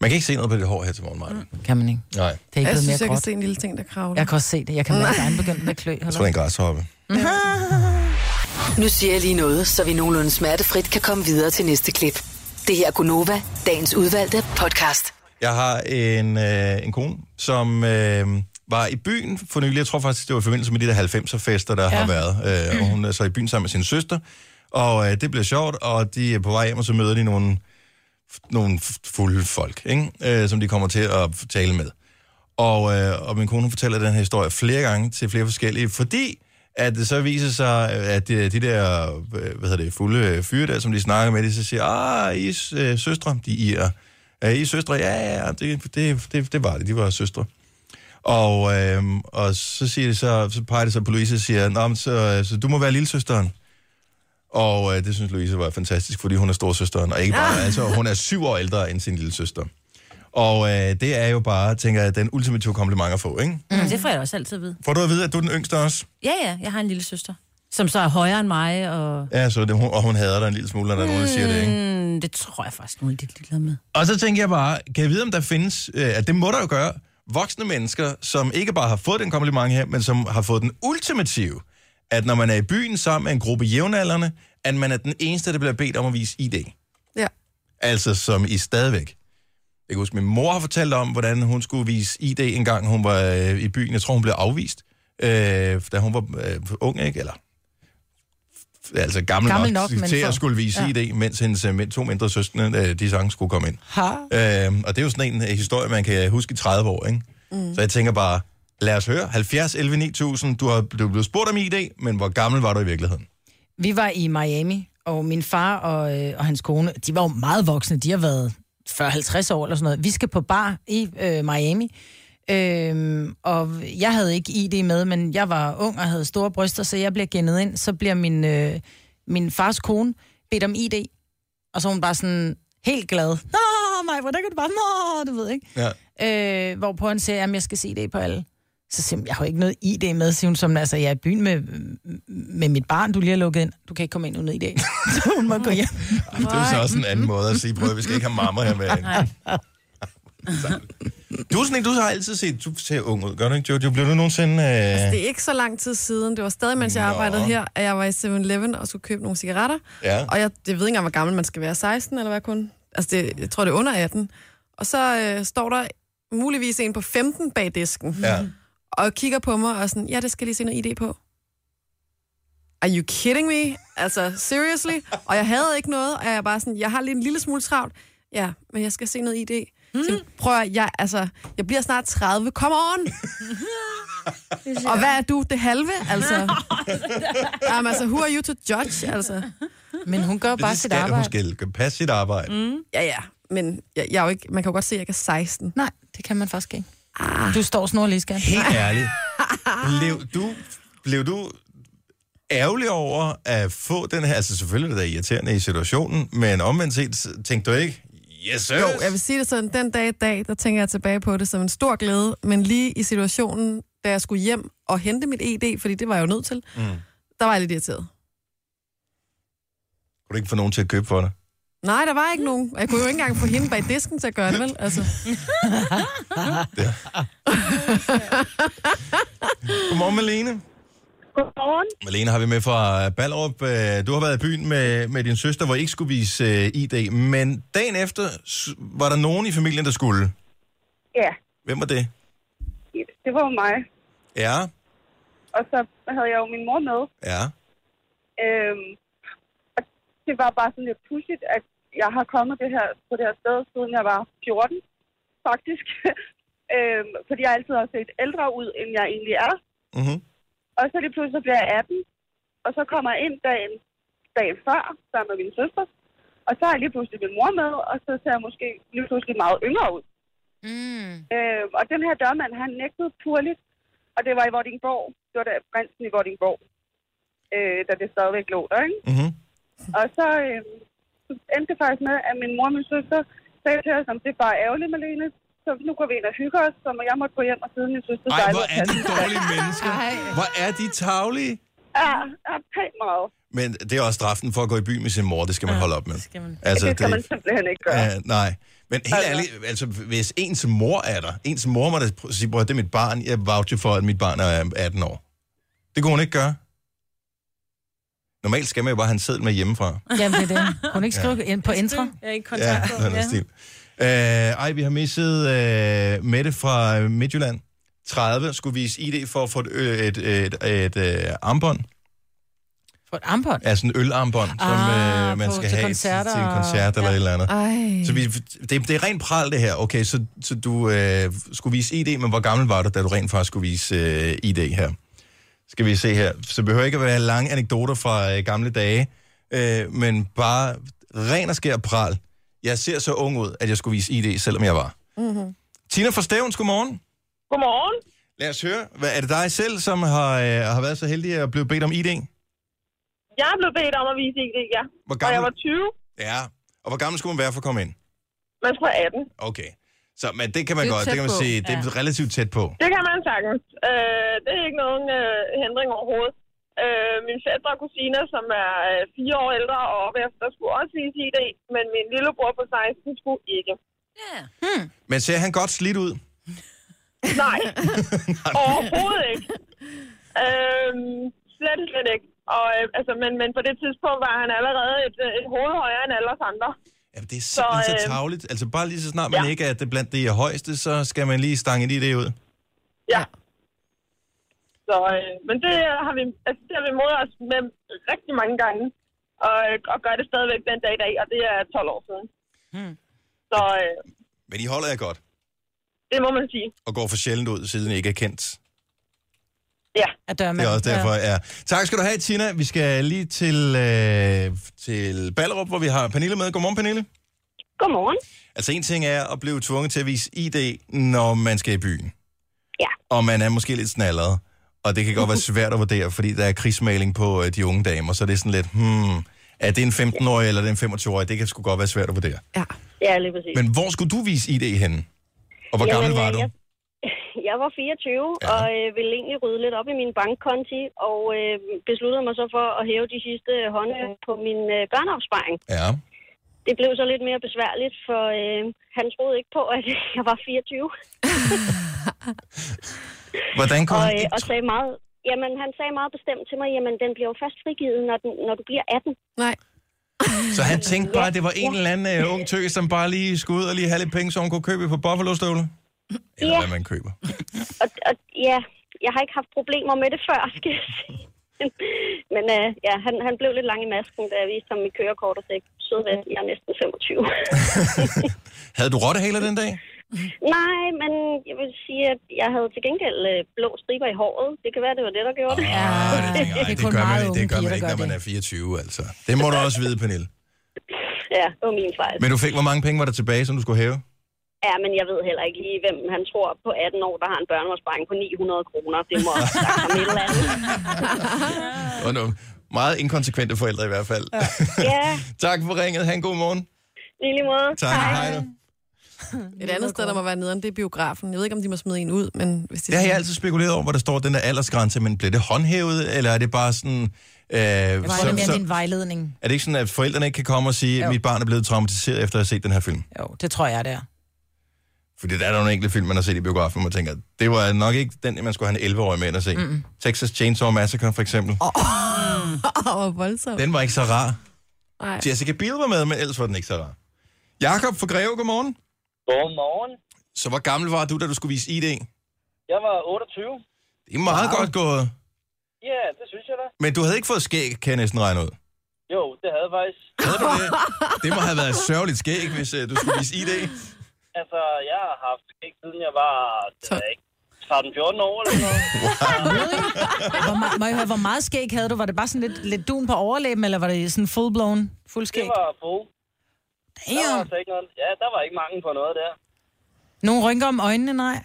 Speaker 1: Man kan ikke se noget på dit hår her til morgen, Maja. Mm.
Speaker 3: Kan man ikke?
Speaker 1: Nej,
Speaker 3: Det er ikke
Speaker 4: Jeg
Speaker 3: blevet
Speaker 4: synes,
Speaker 3: mere
Speaker 4: jeg kan
Speaker 3: gråt.
Speaker 4: se en lille ting, der kravler.
Speaker 3: Jeg kan også se det. Jeg kan mærke, at han begyndt med klø.
Speaker 1: jeg tror, det er en græshoppe.
Speaker 5: Nu siger jeg lige noget, så vi nogenlunde smertefrit kan komme videre til næste klip. Det her er Gunova, dagens udvalgte podcast.
Speaker 1: Jeg har en, øh, en kone, som øh, var i byen for nylig. Jeg tror faktisk, det var i forbindelse med de der 90'er-fester, der ja. har været. Øh, og hun er så i byen sammen med sin søster. Og øh, det bliver sjovt, og de er på vej hjem, og så møder de nogle, nogle fulde folk, ikke? Øh, som de kommer til at tale med. Og, øh, og min kone hun fortæller den her historie flere gange til flere forskellige, fordi at det så viser sig, at de, de der øh, hvad hedder det, fulde øh, fyre der, som de snakker med, de så siger, ah, I er s- øh, søstre, de er. Er I søstre? Ja, ja, ja, det, det, det, det var det, de var søstre. Og, øh, og så, siger de så, så peger det så på Louise og siger, Nå, men så, så du må være lillesøsteren. Og øh, det synes Louise var fantastisk, fordi hun er storsøsteren, og ikke bare, ah. altså, hun er syv år ældre end sin lille søster. Og øh, det er jo bare, tænker jeg, den ultimative kompliment at få, ikke?
Speaker 2: Mm. Det får jeg også altid at vide.
Speaker 1: Får du at vide, at du er den yngste også?
Speaker 2: Ja, ja, jeg har en lille søster, som så er højere end mig, og
Speaker 1: Ja, så det, hun, og hun hader dig en lille smule, når der er nogen, der siger det, ikke?
Speaker 2: mm, det tror jeg faktisk, nogen er lidt ligeglade med.
Speaker 1: Og så tænker jeg bare, kan jeg vide, om der findes, øh, at det må der jo gøre, voksne mennesker, som ikke bare har fået den kompliment her, men som har fået den ultimative, at når man er i byen sammen med en gruppe jævnaldrende, at man er den eneste, der bliver bedt om at vise ID.
Speaker 4: Ja.
Speaker 1: Altså som i stadigvæk. Jeg kan huske, min mor har fortalt om, hvordan hun skulle vise ID en gang, hun var øh, i byen. Jeg tror, hun blev afvist, øh, da hun var øh, ung, ikke? Eller f- altså gammel,
Speaker 3: Gammel
Speaker 1: gammel
Speaker 3: nok,
Speaker 1: nok,
Speaker 3: men
Speaker 1: til
Speaker 3: for-
Speaker 1: at skulle vise ja. ID, mens hendes øh, to mindre søskende, øh, de sange skulle komme ind.
Speaker 3: Har?
Speaker 1: Øhm, og det er jo sådan en øh, historie, man kan huske i 30 år, ikke? Mm. Så jeg tænker bare, lad os høre. 70 11 9000, du har du er blevet spurgt om ID, men hvor gammel var du i virkeligheden?
Speaker 3: Vi var i Miami, og min far og, øh, og hans kone, de var jo meget voksne. De har været 40-50 år eller sådan noget. Vi skal på bar i øh, Miami. Øhm, og jeg havde ikke ID med, men jeg var ung og havde store bryster, så jeg bliver gennet ind. Så bliver min, øh, min fars kone bedt om ID, og så er hun bare sådan helt glad. Nå, mig, hvordan kan du bare... Nå, du ved, ikke?
Speaker 1: Ja.
Speaker 3: Øh, hvorpå han siger, at jeg skal se det på alle. Så siger hun, jeg har jo ikke noget ID med, siger hun, som altså, jeg er i byen med, med mit barn, du lige har lukket ind. Du kan ikke komme ind uden ID. så hun må gå hjem.
Speaker 1: Det er jo så også en anden måde at sige, prøv at vi skal ikke have mamma her med. du er sådan en, du har altid set, du ser ung ud, gør du ikke, Jojo? Bliver du nogensinde... Øh... Altså,
Speaker 4: Det er ikke så lang tid siden, det var stadig, mens jeg
Speaker 1: Nå.
Speaker 4: arbejdede her, at jeg var i 7-Eleven og skulle købe nogle cigaretter.
Speaker 1: Ja.
Speaker 4: Og jeg, jeg ved ikke engang, hvor gammel man skal være, 16 eller hvad kun? Altså, det, jeg tror, det er under 18. Og så øh, står der muligvis en på 15 bag disken,
Speaker 1: Ja.
Speaker 4: og kigger på mig og sådan, ja, det skal jeg lige se noget ID på. Are you kidding me? Altså, seriously? Og jeg havde ikke noget, og jeg er bare sådan, jeg har lige en lille smule travlt. Ja, men jeg skal se noget ID. Mm. Prøv at, jeg, altså, jeg bliver snart 30. Come on! Og hvad er du? Det halve, altså? Jamen, altså, who are you to judge, altså?
Speaker 3: Men hun gør jo bare
Speaker 1: Det
Speaker 3: sit
Speaker 1: skal, hun
Speaker 3: arbejde.
Speaker 1: skal passe sit arbejde. Mm.
Speaker 4: Ja, ja, men jeg, jeg er jo ikke, man kan jo godt se, at jeg ikke er 16.
Speaker 3: Nej, det kan man faktisk ikke. Du står snorlig, skat.
Speaker 1: Helt ærligt. Blev du, blev du ærgerlig over at få den her... Altså selvfølgelig er det da irriterende i situationen, men omvendt set tænkte du ikke... Yes, sir.
Speaker 4: Jo, jeg vil sige det sådan, den dag i dag, der tænker jeg tilbage på det som en stor glæde, men lige i situationen, da jeg skulle hjem og hente mit ED, fordi det var jeg jo nødt til, mm. der var jeg lidt irriteret.
Speaker 1: Kunne du ikke få nogen til at købe for dig?
Speaker 4: Nej, der var ikke nogen. Og Jeg kunne jo ikke engang få hende bag disken til at gøre det, vel? Altså,
Speaker 1: Godmorgen, Malene.
Speaker 7: Godmorgen.
Speaker 1: Malene har vi med fra Ballerup. Øh, Du har været i byen med, med din søster, hvor I ikke skulle vise øh, ID, men dagen efter s- var der nogen i familien, der skulle.
Speaker 7: Ja,
Speaker 1: Hvem var det?
Speaker 7: det var jo mig.
Speaker 1: Ja,
Speaker 7: Og så havde jeg jo min mor med.
Speaker 1: ja.
Speaker 7: Øhm, og det var bare sådan lidt pudsigt, at jeg har kommet det her, på det her sted, siden jeg var 14, faktisk. Øh, fordi jeg altid har set ældre ud, end jeg egentlig er.
Speaker 1: Mm-hmm.
Speaker 7: Og så lige pludselig så bliver jeg 18, og så kommer jeg ind dagen, dagen før, sammen med min søster. Og så er jeg lige pludselig min mor med, og så ser jeg måske lige pludselig meget yngre ud.
Speaker 2: Mm.
Speaker 7: Øh, og den her dørmand, han nægtede purligt, og det var i Vordingborg. Det var der prinsen i Vordingborg, øh, da det stadigvæk lå der, ikke?
Speaker 1: Mm-hmm.
Speaker 7: Og så, øh, så endte det faktisk med, at min mor og min søster sagde til os, om det er bare ærgerligt, Malene. Så nu går vi ind og hygger os, så må jeg måtte gå hjem og sidde i min søster.
Speaker 1: Ej, hvor er de dårlige mennesker. Hvor er de tavlige.
Speaker 7: Ja, ja, pænt meget.
Speaker 1: Men det er også straffen for at gå i by med sin mor, det skal man holde op med.
Speaker 2: skal man.
Speaker 1: Altså,
Speaker 7: det skal man simpelthen ikke gøre.
Speaker 1: Ja, nej. Men helt ærligt, altså, hvis ens mor er der, ens mor må da pr- sige, "Bror, det er mit barn, jeg voucher for, at mit barn er 18 år. Det kunne hun ikke gøre. Normalt skal man jo bare have en seddel med hjemmefra.
Speaker 3: Jamen, det er det. Kunne ikke skrive ja. ind på intra?
Speaker 2: Jeg er ikke
Speaker 1: Ja,
Speaker 2: kontaktet.
Speaker 1: sådan er stil. Øh, ej, vi har misset øh, Mette fra øh, Midtjylland. 30 skulle vise ID for at få et, ø- et, et, et, et øh, armbånd.
Speaker 3: For et armbånd?
Speaker 1: Altså en ølarmbånd, ah, som
Speaker 3: Ah,
Speaker 1: øh, man
Speaker 3: på-
Speaker 1: skal
Speaker 3: til
Speaker 1: have
Speaker 3: koncerter
Speaker 1: til en
Speaker 3: og-
Speaker 1: koncert eller ja. et eller andet.
Speaker 4: Ej.
Speaker 1: Så vi, det, det er rent pral, det her. Okay, så, så du øh, skulle vise ID, men hvor gammel var du, da du rent faktisk skulle vise øh, ID her? Skal vi se her. Så behøver ikke at være lange anekdoter fra øh, gamle dage, øh, men bare ren og skær pral. Jeg ser så ung ud, at jeg skulle vise ID, selvom jeg var. Mm-hmm. Tina fra Stævns, godmorgen.
Speaker 7: Godmorgen.
Speaker 1: Lad os høre. Hvad, er det dig selv, som har, øh, har været så heldig at blive bedt om ID?
Speaker 7: Jeg blev bedt om at vise ID, ja.
Speaker 1: Hvor
Speaker 7: Og
Speaker 1: gammel?
Speaker 7: jeg var 20,
Speaker 1: Ja, og hvor gammel skulle man være for at komme ind?
Speaker 7: man skulle være 18.
Speaker 1: Okay. Så, men det kan man
Speaker 4: Det er
Speaker 1: godt, det
Speaker 4: tæt
Speaker 1: kan man
Speaker 4: på.
Speaker 1: sige, det er relativt tæt på.
Speaker 7: Det kan man sagtens. Øh, det er ikke nogen øh, hindring overhovedet. Øh, min fætter og kusiner, som er øh, fire år ældre og op efter, skulle også vise ID, men min lillebror på 16 skulle ikke.
Speaker 2: Ja.
Speaker 1: Men ser han godt slidt ud?
Speaker 7: Nej, overhovedet ikke. Øh, slet, slet ikke. Og, øh, altså, men, men på det tidspunkt var han allerede et, øh, et hoved højere end alle os andre.
Speaker 1: Jamen, det er simpelthen så,
Speaker 7: Så,
Speaker 1: så
Speaker 7: øh,
Speaker 1: tavligt. Altså, bare lige så snart man ja.
Speaker 7: ja.
Speaker 1: ikke er det blandt de højeste, så skal man lige stange lige det ud.
Speaker 7: Ja. Så, øh, men det har vi, altså, det har vi modet os med rigtig mange gange, og, og gør det stadigvæk den dag i dag, og det er 12 år siden. Hmm. Så øh,
Speaker 1: Men I holder jer godt,
Speaker 7: det må man sige.
Speaker 1: og går for sjældent ud, siden I ikke er kendt.
Speaker 7: Ja,
Speaker 3: At dørmand.
Speaker 1: Det er også derfor, ja. Tak skal du have, Tina. Vi skal lige til, øh, til Ballerup, hvor vi har Pernille med. Godmorgen, Pernille.
Speaker 7: godmorgen.
Speaker 1: Altså, en ting er at blive tvunget til at vise ID, når man skal i byen.
Speaker 7: Ja.
Speaker 1: Og man er måske lidt snallet. Og det kan godt være svært at vurdere, fordi der er krigsmaling på øh, de unge damer, så det er sådan lidt, hmm, er det en 15-årig eller er det en 25-årig? Det kan sgu godt være svært at vurdere.
Speaker 4: Ja.
Speaker 8: Ja, lige præcis.
Speaker 1: Men hvor skulle du vise ID henne? Og hvor gammel
Speaker 8: Jamen,
Speaker 1: var
Speaker 8: øh,
Speaker 1: du?
Speaker 8: Jeg, jeg var 24
Speaker 1: Ja.
Speaker 8: ja. og øh, ville egentlig rydde lidt op i min bankkonti, og øh, besluttede mig så for at hæve de sidste hånd på min øh, børneopsparing.
Speaker 1: Ja.
Speaker 8: Det blev så lidt mere besværligt, for øh, han troede ikke på, at jeg var 24,
Speaker 1: Hvordan kom
Speaker 8: og,
Speaker 1: han
Speaker 8: øh,
Speaker 1: ikke
Speaker 8: og
Speaker 1: tro-
Speaker 8: sagde meget... Jamen, han sagde meget bestemt til mig, jamen, den bliver jo først frigivet, når, den, når du bliver 18.
Speaker 4: Nej.
Speaker 1: Så han tænkte bare, at det var en eller anden øh, ung tøs, som bare lige skulle ud og lige have lidt penge, så hun kunne købe på Buffalo-støvle? Eller
Speaker 8: Ja.
Speaker 1: hvad man køber.
Speaker 8: Og, og ja, jeg har ikke haft problemer med det før, skal jeg sige. Men øh, ja, han, han blev lidt lang i masken, da jeg viste ham mit kørekort og sagde, sød ven, jeg er næsten 25.
Speaker 1: Havde du rottehaler den dag?
Speaker 8: Nej, men jeg vil sige, at jeg havde til gengæld øh, blå striber i håret. Det kan være, det var det, der gjorde det.
Speaker 1: Ja, det, tænker jeg,
Speaker 3: Det er
Speaker 1: det,
Speaker 3: kun
Speaker 1: gør man,
Speaker 3: meget
Speaker 1: ikke-
Speaker 3: unge
Speaker 1: det gør
Speaker 3: piger,
Speaker 1: man
Speaker 3: der
Speaker 1: ikke,
Speaker 3: gør
Speaker 1: når man er 24,
Speaker 3: det.
Speaker 1: altså. Det må du også vide, Pernille.
Speaker 8: Ja, det var min fejl.
Speaker 1: Men du fik, hvor mange penge var der tilbage, som du skulle hæve?
Speaker 8: Ja, men jeg ved heller ikke lige, hvem han tror på 18 år, der har en børneårsparing på 900 kroner. Det må have sagt ham et eller andet.
Speaker 1: Og nogle meget inkonsekvente forældre i hvert fald. Ja.
Speaker 8: Ja,
Speaker 1: tak for ringet. Ha' en god morgen.
Speaker 8: i lige måde.
Speaker 1: Tak. Hej. Hej.
Speaker 4: Et andet sted, der må være nederen, det er biografen. Jeg ved ikke, om de må smide en ud, men hvis de...
Speaker 1: Det har jeg altid spekuleret over, hvor der står den der aldersgrænse, men bliver det håndhævet, eller er det bare sådan... Øh,
Speaker 3: Var
Speaker 1: så,
Speaker 3: det mere
Speaker 1: så,
Speaker 3: din vejledning?
Speaker 1: er det ikke sådan, at forældrene ikke kan komme og sige, at
Speaker 3: Jo.
Speaker 1: mit barn er blevet traumatiseret efter at have set den her film?
Speaker 3: Jo, det tror jeg, det er.
Speaker 1: Fordi der er der nogle enkelte film, man har set i biografen, hvor man tænker, det var nok ikke den, man skulle have en 11-årig med ind at se. Mm-mm. Texas Chainsaw Massacre for eksempel. Oh.
Speaker 4: Åh, hvor voldsomt.
Speaker 1: Den var ikke så rar.
Speaker 4: Nej.
Speaker 1: Jessica Biel var med, men ellers var den ikke så rar. Jakob fra Greve, godmorgen.
Speaker 9: Godmorgen.
Speaker 1: Så hvor gammel var du, da du skulle vise ID? Det
Speaker 9: Jeg var 28.
Speaker 1: er meget wow. godt gået.
Speaker 9: Ja, det synes jeg da.
Speaker 1: Men du havde ikke fået skæg, kan jeg næsten regne ud.
Speaker 9: Jo, det havde jeg faktisk.
Speaker 1: Havde du det? Det må have været et sørgeligt skæg, hvis uh, du skulle øh, vise ID.
Speaker 9: Altså, jeg har haft skæg siden jeg var det ved jeg ikke, 13-14 år eller noget.
Speaker 3: Hvor, me- må jeg høre, hvor meget skæg havde du? Var det bare sådan lidt, lidt dun på overlæben, eller var det sådan full blown, fuld skæg?
Speaker 9: Det var full. Der var altså ikke noget. Ja, der var ikke mange på noget der.
Speaker 3: Nogle rynker om øjnene, nej?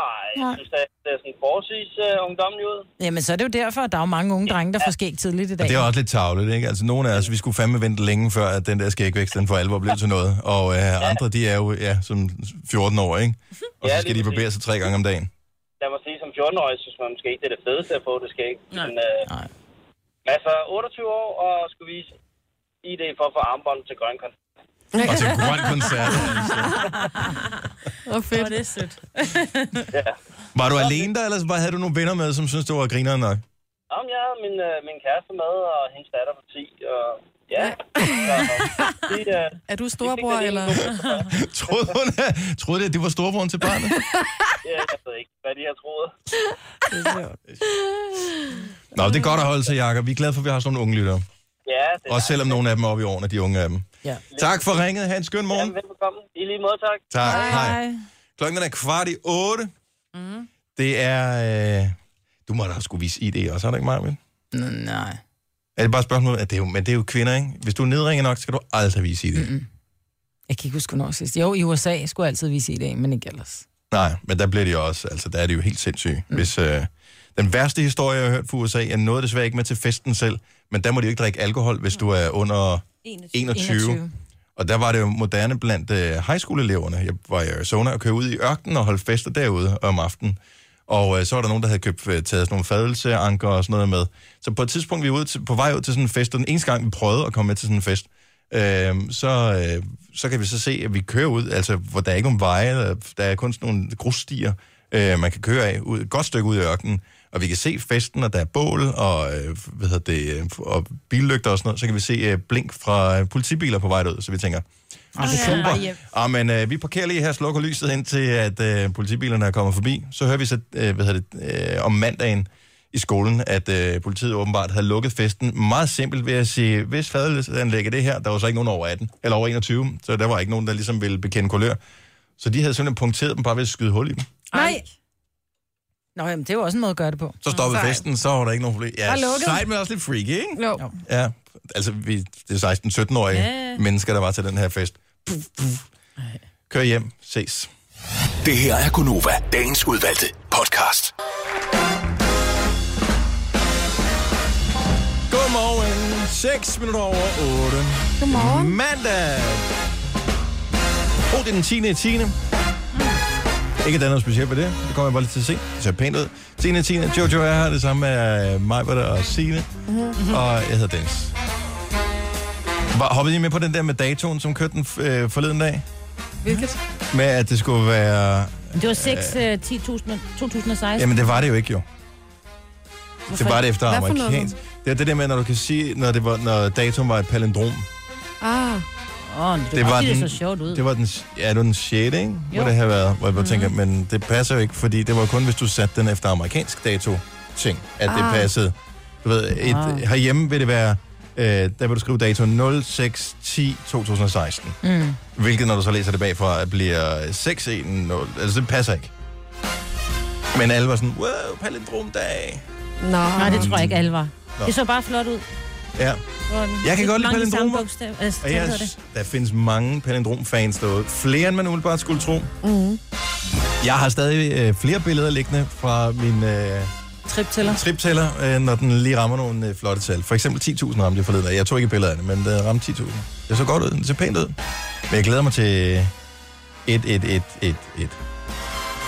Speaker 9: Nej, jeg
Speaker 3: Nej.
Speaker 9: synes, det det er sådan forholdsvis uh, ungdommelig ud.
Speaker 3: Jamen, så er det jo derfor, at der er jo mange unge drenge, der får skæg tidligt i dag.
Speaker 1: Og det er også lidt tavlet, ikke? Altså, nogle af os, vi skulle fandme vente længe før, at den der skægvækst, den for alvor blev til noget. Og øh, andre, de er jo, ja, som 14 år, ikke? Og så
Speaker 9: Ja,
Speaker 1: skal de
Speaker 9: lige
Speaker 1: barbere sig tre gange om dagen.
Speaker 9: Lad mig sige, som 14-årig synes man måske ikke, det er det fedeste at få det skæg. Men, uh, Nej. Altså, 28 år og skulle vise ID for at få armbånd til grøn koncert.
Speaker 1: Og til grøn koncert.
Speaker 4: Hvor fedt.
Speaker 2: Hvor det er sødt.
Speaker 1: Var du alene der, eller var- havde du nogle venner med, som synes du var griner nok?
Speaker 9: Jamen, jeg havde min, øh, min kæreste med, og hendes datter på 10, og ja. Så, de, øh,
Speaker 4: Er du storbror, eller?
Speaker 1: troede, hun, troede det, at det var storebroren til barnet?
Speaker 9: ja, jeg ved ikke, hvad de har troet.
Speaker 1: Nå, det er godt at holde sig, Jacob. Vi er glade for, at vi har sådan nogle unge lyttere.
Speaker 9: Ja, det
Speaker 1: Også selvom nogle af dem er oppe i årene, de unge af dem.
Speaker 3: Ja.
Speaker 1: Tak for ringet. Ha' en skøn
Speaker 9: er
Speaker 1: morgen.
Speaker 9: velbekomme. I lige måde, tak.
Speaker 1: Tak. Hej. Klokken er kvart i otte. Det er... Øh... Du må da have skulle vise ID også, har du ikke mig,
Speaker 3: N- Nej.
Speaker 1: Er det bare et spørgsmål? At det er jo, men det er jo kvinder, ikke? Hvis du nedringer nok, så skal du aldrig vise ID. Mm-mm.
Speaker 3: Jeg kan ikke huske, hvornår sidst. Jo, i USA skulle jeg altid vise i dag, men ikke ellers.
Speaker 1: Nej, men der bliver de også... Altså, der er det jo helt sindssygt. Mm. Hvis, øh... Den værste historie, jeg har hørt fra USA, jeg nåede desværre ikke med til festen selv, men der må de jo ikke drikke alkohol, hvis du er under 21. 21. Og der var det jo moderne blandt øh, højskoleeleverne. Jeg var i Arizona og kørte ud i ørkenen og holdt fester derude om aftenen. Og øh, så var der nogen, der havde købt, øh, taget sådan nogle fadelseanker og sådan noget med. Så på et tidspunkt, vi var ude til, på vej ud til sådan en fest, og den eneste gang, vi prøvede at komme med til sådan en fest, øh, så, øh, så kan vi så se, at vi kører ud, altså hvor der er ikke nogen veje, eller der er kun sådan nogle grusstier, øh, man kan køre af, ud, et godt stykke ud i ørkenen. Og vi kan se festen, og der er bål, og, øh, hvad hedder det, øh, og billygter og sådan noget. Så kan vi se øh, blink fra øh, politibiler på vej ud, så vi tænker,
Speaker 3: Og det
Speaker 1: Super. Ja, men øh, vi parkerer lige her, slukker lyset ind til, at øh, politibilerne er kommet forbi. Så hører vi så, øh, hvad hedder det, øh, om mandagen i skolen, at øh, politiet åbenbart havde lukket festen. Meget simpelt ved at sige, hvis fadelsanlægget det her, der var så ikke nogen over 18, eller over 21, så der var ikke nogen, der ligesom ville bekende kulør. Så de havde simpelthen punkteret dem bare ved at skyde hul i dem.
Speaker 3: Nej. Nå, jamen, det er jo også en måde at gøre det på.
Speaker 1: Så stoppede festen, så var der ikke nogen problem. Ja,
Speaker 3: Var lukket.
Speaker 1: sejt, men også lidt freaky, ikke?
Speaker 4: Jo.
Speaker 1: Ja, altså vi, det er 16-17-årige
Speaker 2: Ja.
Speaker 1: mennesker, der var til den her fest. Puff, puff. Kør hjem, ses.
Speaker 6: Det her er Gunova, dagens udvalgte podcast.
Speaker 1: Godmorgen. 6 minutter over 8. Godmorgen. Mandag. Oh, det er den 10. 10. Mm. Ikke at der er noget specielt ved det. Det kommer jeg bare lidt til at se. Det ser pænt ud. 10. 10. Jojo er her. Det samme er mig, hvor der og Signe. Mm-hmm. Og jeg hedder Dennis. Var, hoppede I med på den der med datoen, som kørte den øh, forleden dag?
Speaker 4: Hvilket?
Speaker 1: Med at det skulle være...
Speaker 2: Det var 6, øh, 10.000, 2016.
Speaker 1: Jamen, det var det jo ikke, jo.
Speaker 2: Hvorfor
Speaker 1: Det var det
Speaker 2: ikke?
Speaker 1: efter
Speaker 4: Hvad for noget?
Speaker 1: amerikansk. Det er det der med, når du kan sige, når, det var, når datoen var et palindrom.
Speaker 4: Ah,
Speaker 2: Åh, det,
Speaker 1: det
Speaker 2: det
Speaker 1: var
Speaker 2: var, det
Speaker 1: den-
Speaker 2: så sjovt ud.
Speaker 1: Det var den, ja, det var den 6., ikke? Hvor
Speaker 2: Mm. Jo.
Speaker 1: det havde været. Hvor jeg bare tænker, men det passer jo ikke, fordi det var kun, hvis du satte den efter amerikansk dato-ting, at det
Speaker 4: Ah.
Speaker 1: passede. Du ved, et,
Speaker 2: Ah.
Speaker 1: herhjemme vil det være, øh, der vil du skrive dato 06 10 2016.
Speaker 3: Mm.
Speaker 1: Hvilket, når du så læser det bagfra, bliver 6 1 0. Altså, det passer ikke. Men alle var sådan, wow, palindromdag.
Speaker 4: nå.
Speaker 2: Nej, det tror jeg ikke, alle var.
Speaker 1: Nå.
Speaker 2: Det så bare flot ud.
Speaker 1: Ja, Jeg kan godt lide palindromer.
Speaker 2: Altså,
Speaker 1: og jeg,
Speaker 2: jeg... det.
Speaker 1: der findes mange palindromfans derude. Flere, end man umiddelbart skulle tro.
Speaker 4: Mm.
Speaker 1: Jeg har stadig øh, flere billeder liggende fra min... Øh,
Speaker 3: Trip til dig.
Speaker 1: triptæller, øh, når den lige rammer nogle øh, flotte tal. For eksempel 10.000 ramte jeg forleden. af. Jeg tog ikke billeder af det, men den ramte 10.000. Det så godt ud, det så pænt ud. Men jeg glæder mig til 1, 1, 1, 1, 1.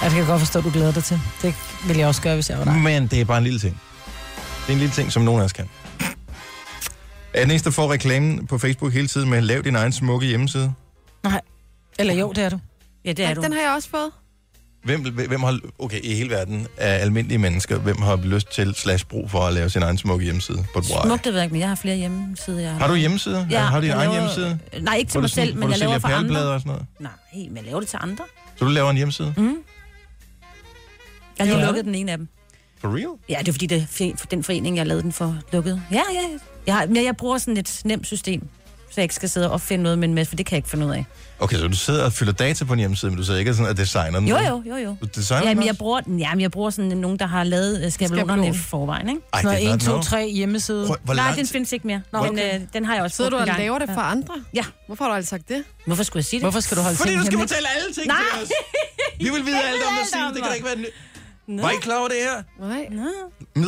Speaker 3: Jeg kan godt forstå, at du glæder dig til. Det vil jeg også gøre, hvis jeg var dig.
Speaker 1: Men det er bare en lille ting. Det er en lille ting, som nogen af os kan. Er den eneste, der får reklamen på Facebook hele tiden med, lav din egen smukke hjemmeside?
Speaker 3: Eller jo, det er du.
Speaker 2: Ja, det
Speaker 4: Ja,
Speaker 2: er du.
Speaker 4: den har jeg også fået.
Speaker 1: Hvem, hvem har, okay, i hele verden af almindelige mennesker, hvem har lyst til slash brug for at lave sin egen smukke hjemmeside? But why?
Speaker 2: Smukt, det ved jeg ikke, men jeg har flere hjemmesider. Jeg
Speaker 1: Har du hjemmesider? har du din
Speaker 2: jeg
Speaker 1: egen
Speaker 2: laver-
Speaker 1: hjemmeside?
Speaker 2: Nej, ikke til
Speaker 1: Hvor du
Speaker 2: mig
Speaker 1: sådan-
Speaker 2: selv,
Speaker 1: hvor
Speaker 2: men
Speaker 1: du
Speaker 2: jeg laver
Speaker 1: sælger
Speaker 2: for andre.
Speaker 1: perleblade og sådan noget?
Speaker 2: Nej, men jeg laver det til andre.
Speaker 1: Så du laver en hjemmeside?
Speaker 2: Mm. Jeg har lige
Speaker 3: Ja.
Speaker 2: lukket den ene af dem.
Speaker 1: For real?
Speaker 2: Ja, det er fordi, det er fe- for den forening, jeg lavede den for, lukket. Ja, ja. Jeg, har, men jeg bruger sådan et nemt system. så jeg ikke skal sidde og finde noget med en masse, for det kan jeg ikke finde ud af.
Speaker 1: Okay, så du sidder og fylder data på en hjemmeside, men du sidder ikke sådan og designer den?
Speaker 2: Jo,
Speaker 1: vel?
Speaker 2: jo, jo, jo.
Speaker 1: Du designer
Speaker 2: Jamen,
Speaker 1: den
Speaker 2: jeg
Speaker 1: også?
Speaker 2: bruger, den- jamen, jeg bruger sådan nogen, der har lavet øh, skabelonerne i
Speaker 3: Skabelon.
Speaker 2: forvejen, ikke?
Speaker 1: Ej, Sådan det er noget noget 1, 2, 3
Speaker 3: hjemmeside.
Speaker 1: Prøv, hvor
Speaker 2: Nej,
Speaker 1: langt-
Speaker 2: den findes ikke mere.
Speaker 1: Nå,
Speaker 2: Nå, men
Speaker 1: okay.
Speaker 2: øh, den har jeg også
Speaker 4: Sidder du
Speaker 2: brugt
Speaker 4: og
Speaker 2: en gang.
Speaker 4: laver det for andre?
Speaker 2: Ja.
Speaker 4: Hvorfor har du aldrig sagt det?
Speaker 2: Hvorfor skulle jeg sige det?
Speaker 3: Hvorfor skal du holde
Speaker 1: Fordi
Speaker 3: ting
Speaker 1: du skal
Speaker 3: hemmeligt?
Speaker 1: fortælle alle ting
Speaker 2: Nej.
Speaker 1: til os. Vi vil vide
Speaker 2: Jeg
Speaker 1: alt
Speaker 2: ved
Speaker 1: om dig,
Speaker 2: alt
Speaker 1: Signe.
Speaker 2: om
Speaker 1: Det kan da
Speaker 2: dig.
Speaker 1: ikke være... ny-
Speaker 2: Nå.
Speaker 1: Var I klar over det her?
Speaker 4: Nej.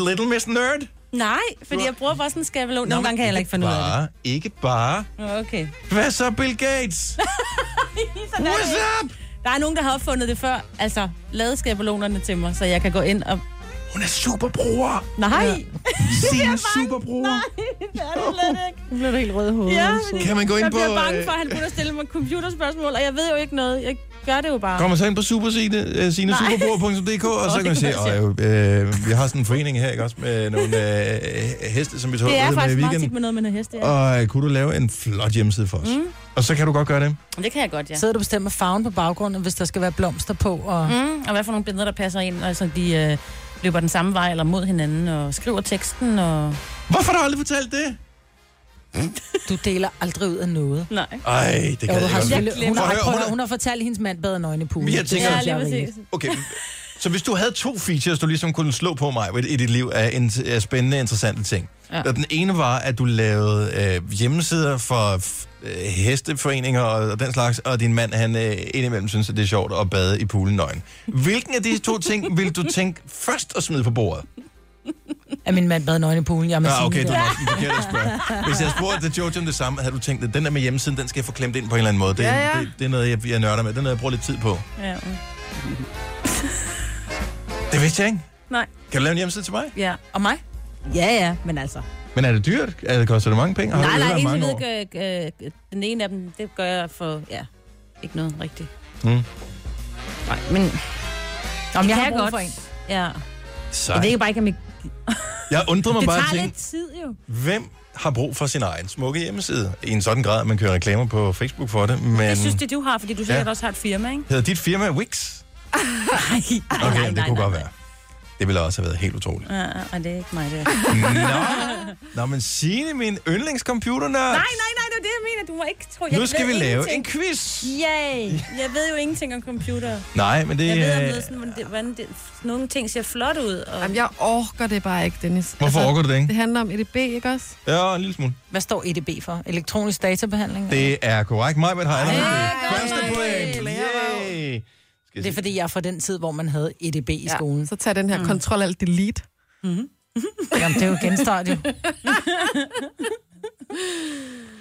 Speaker 1: Little Miss Nerd?
Speaker 2: Nej, fordi jeg bruger bare sådan en skabelon. Nogle gange kan jeg heller ikke finde ud af det.
Speaker 1: Bare, ikke bare.
Speaker 2: Nå, Okay.
Speaker 1: Hvad så, Bill Gates?
Speaker 2: Sådan er det
Speaker 1: What's
Speaker 2: ikke.
Speaker 1: up?
Speaker 2: Der er nogen, der har opfundet det før. Altså, lavet skabelonerne til mig, så jeg kan gå ind og...
Speaker 1: Hun er superbruger.
Speaker 2: Nej!
Speaker 1: Signe superbruger.
Speaker 2: det er det slet ikke.
Speaker 10: Nu blev du helt rød i hovedet.
Speaker 2: Ja,
Speaker 10: Sune.
Speaker 1: Kan man gå ind
Speaker 2: Jeg
Speaker 1: på...
Speaker 2: bliver bange
Speaker 1: øh,
Speaker 2: for, at han begynder at stille mig computerspørgsmål, og jeg ved jo ikke noget. Jeg gør det jo bare.
Speaker 1: Kommer så ind på øh, supersine.dk, og så kan man se, at øh, vi har sådan en forening her, ikke også, med nogle øh, heste, som vi tog
Speaker 2: Det er
Speaker 1: ud med i
Speaker 2: faktisk meget tit
Speaker 1: weekenden.
Speaker 2: med noget med noget heste. Ja.
Speaker 1: Og øh, kunne du lave en flot hjemmeside for os? Mm. Og så kan du godt gøre det.
Speaker 2: Det kan jeg godt, ja.
Speaker 3: Sidder du og bestemmer farven på baggrunden, hvis der skal være blomster på? Og... Mm.
Speaker 2: Mm, og hvad for nogle billeder, der passer ind, og sådan, de øh, løber den samme vej eller mod hinanden, og skriver teksten, og...
Speaker 1: Hvorfor har du aldrig fortalt det?
Speaker 3: Du deler aldrig ud af noget.
Speaker 2: Nej.
Speaker 1: Ej, det kan
Speaker 3: Jo,
Speaker 1: jeg
Speaker 3: du har
Speaker 1: ikke.
Speaker 3: selvfølgelig-
Speaker 1: godt.
Speaker 3: hun,
Speaker 1: Prøv
Speaker 3: har,
Speaker 1: at høre,
Speaker 3: prøv,
Speaker 1: hun er-
Speaker 3: at høre, hun har fortalt hendes mand bader nøgen i poolen.
Speaker 1: Men jeg
Speaker 3: Det
Speaker 1: tænker-
Speaker 3: synes
Speaker 2: Ja, lige
Speaker 3: er rigeligt.
Speaker 2: præcis.
Speaker 1: Okay, så hvis du havde to features, du ligesom kunne slå på mig i dit liv af, en, af spændende, interessante ting. Ja.
Speaker 2: Ja.
Speaker 1: Den ene var, at du lavede øh, hjemmesider for f- øh, hesteforeninger og, og den slags, og din mand, han øh, indimellem synes, at det er sjovt at bade i poolen nøgen. Hvilken af de to ting vil du tænke først at smide på bordet?
Speaker 3: At min mand bader nøgen i poolen. Jamen,
Speaker 1: Ja, ah, okay, det var også en forkert at spørge. Hvis jeg spurgte til Jojo om det samme, havde du tænkt, at den der med hjemmesiden, den skal jeg få klemt ind på en eller anden måde. Det,
Speaker 4: Ja, ja.
Speaker 1: det, det er noget, jeg, jeg nørder med. Det er noget, jeg bruger lidt tid på.
Speaker 2: Ja.
Speaker 1: Det vidste jeg ikke.
Speaker 2: Nej.
Speaker 1: Kan du lave en hjemmeside til mig?
Speaker 2: ja.
Speaker 3: Og mig?
Speaker 2: Ja, ja, men altså.
Speaker 1: Men er det dyrt? Er det, koster det mange penge? Har
Speaker 2: nej,
Speaker 1: du
Speaker 2: nej,
Speaker 1: øvet dig
Speaker 2: indtil
Speaker 1: mange år?
Speaker 2: videre gør, øh, den ene af dem, det gør jeg for, ja, ikke noget rigtigt.
Speaker 1: Mm.
Speaker 2: Nej, men
Speaker 3: Om jeg
Speaker 2: kan
Speaker 3: har
Speaker 2: jeg
Speaker 3: brug
Speaker 2: godt.
Speaker 3: for en.
Speaker 2: ja.
Speaker 1: Sej.
Speaker 2: jeg ved bare ikke, om jeg...
Speaker 1: Jeg undrer mig
Speaker 2: Det
Speaker 1: bare
Speaker 2: tager
Speaker 1: til,
Speaker 2: lidt tid jo.
Speaker 1: hvem har brug for sin egen smukke hjemmeside? I en sådan grad, at man kører reklamer på Facebook for det, men...
Speaker 2: Jeg synes, det du har, fordi du sikkert også har et firma, ikke?
Speaker 1: Hedder dit firma Wix?
Speaker 2: Nej,
Speaker 1: Okay, nej, det kunne godt være. Det ville også have været helt utroligt.
Speaker 2: Ja, og det er ikke mig, det er.
Speaker 1: Nå, Nå men Signe, min yndlingscomputer,
Speaker 2: Nej, nej, nej, det er det, jeg mener. Du må ikke tro, jeg
Speaker 1: nu skal vi
Speaker 2: ved
Speaker 1: lave en
Speaker 2: ingenting.
Speaker 1: quiz.
Speaker 2: Yay! Jeg ved jo ingenting om computer.
Speaker 1: Nej, men det...
Speaker 2: Jeg ved om
Speaker 1: øh,
Speaker 2: noget sådan, hvordan, det, hvordan det, nogle ting ser flot ud. Og...
Speaker 4: Jamen, jeg orker det bare ikke, Dennis. Altså,
Speaker 1: Hvorfor
Speaker 2: Altså-
Speaker 1: overgår du det ikke?
Speaker 4: Det handler om EDB, ikke også?
Speaker 1: Ja, en lille smule.
Speaker 3: Hvad står EDB for? Elektronisk databehandling? Det,
Speaker 1: Det er korrekt. Mig, men har allerede
Speaker 4: Ej,
Speaker 1: det. Første
Speaker 4: godt.
Speaker 1: point. Yay. Skal
Speaker 3: det er
Speaker 1: jeg sige-
Speaker 3: fordi, jeg er fra den tid, hvor man havde EDB i skolen. Ja.
Speaker 4: Så tag den her mm. control alt delete.
Speaker 3: Jamen, det er jo genstart jo.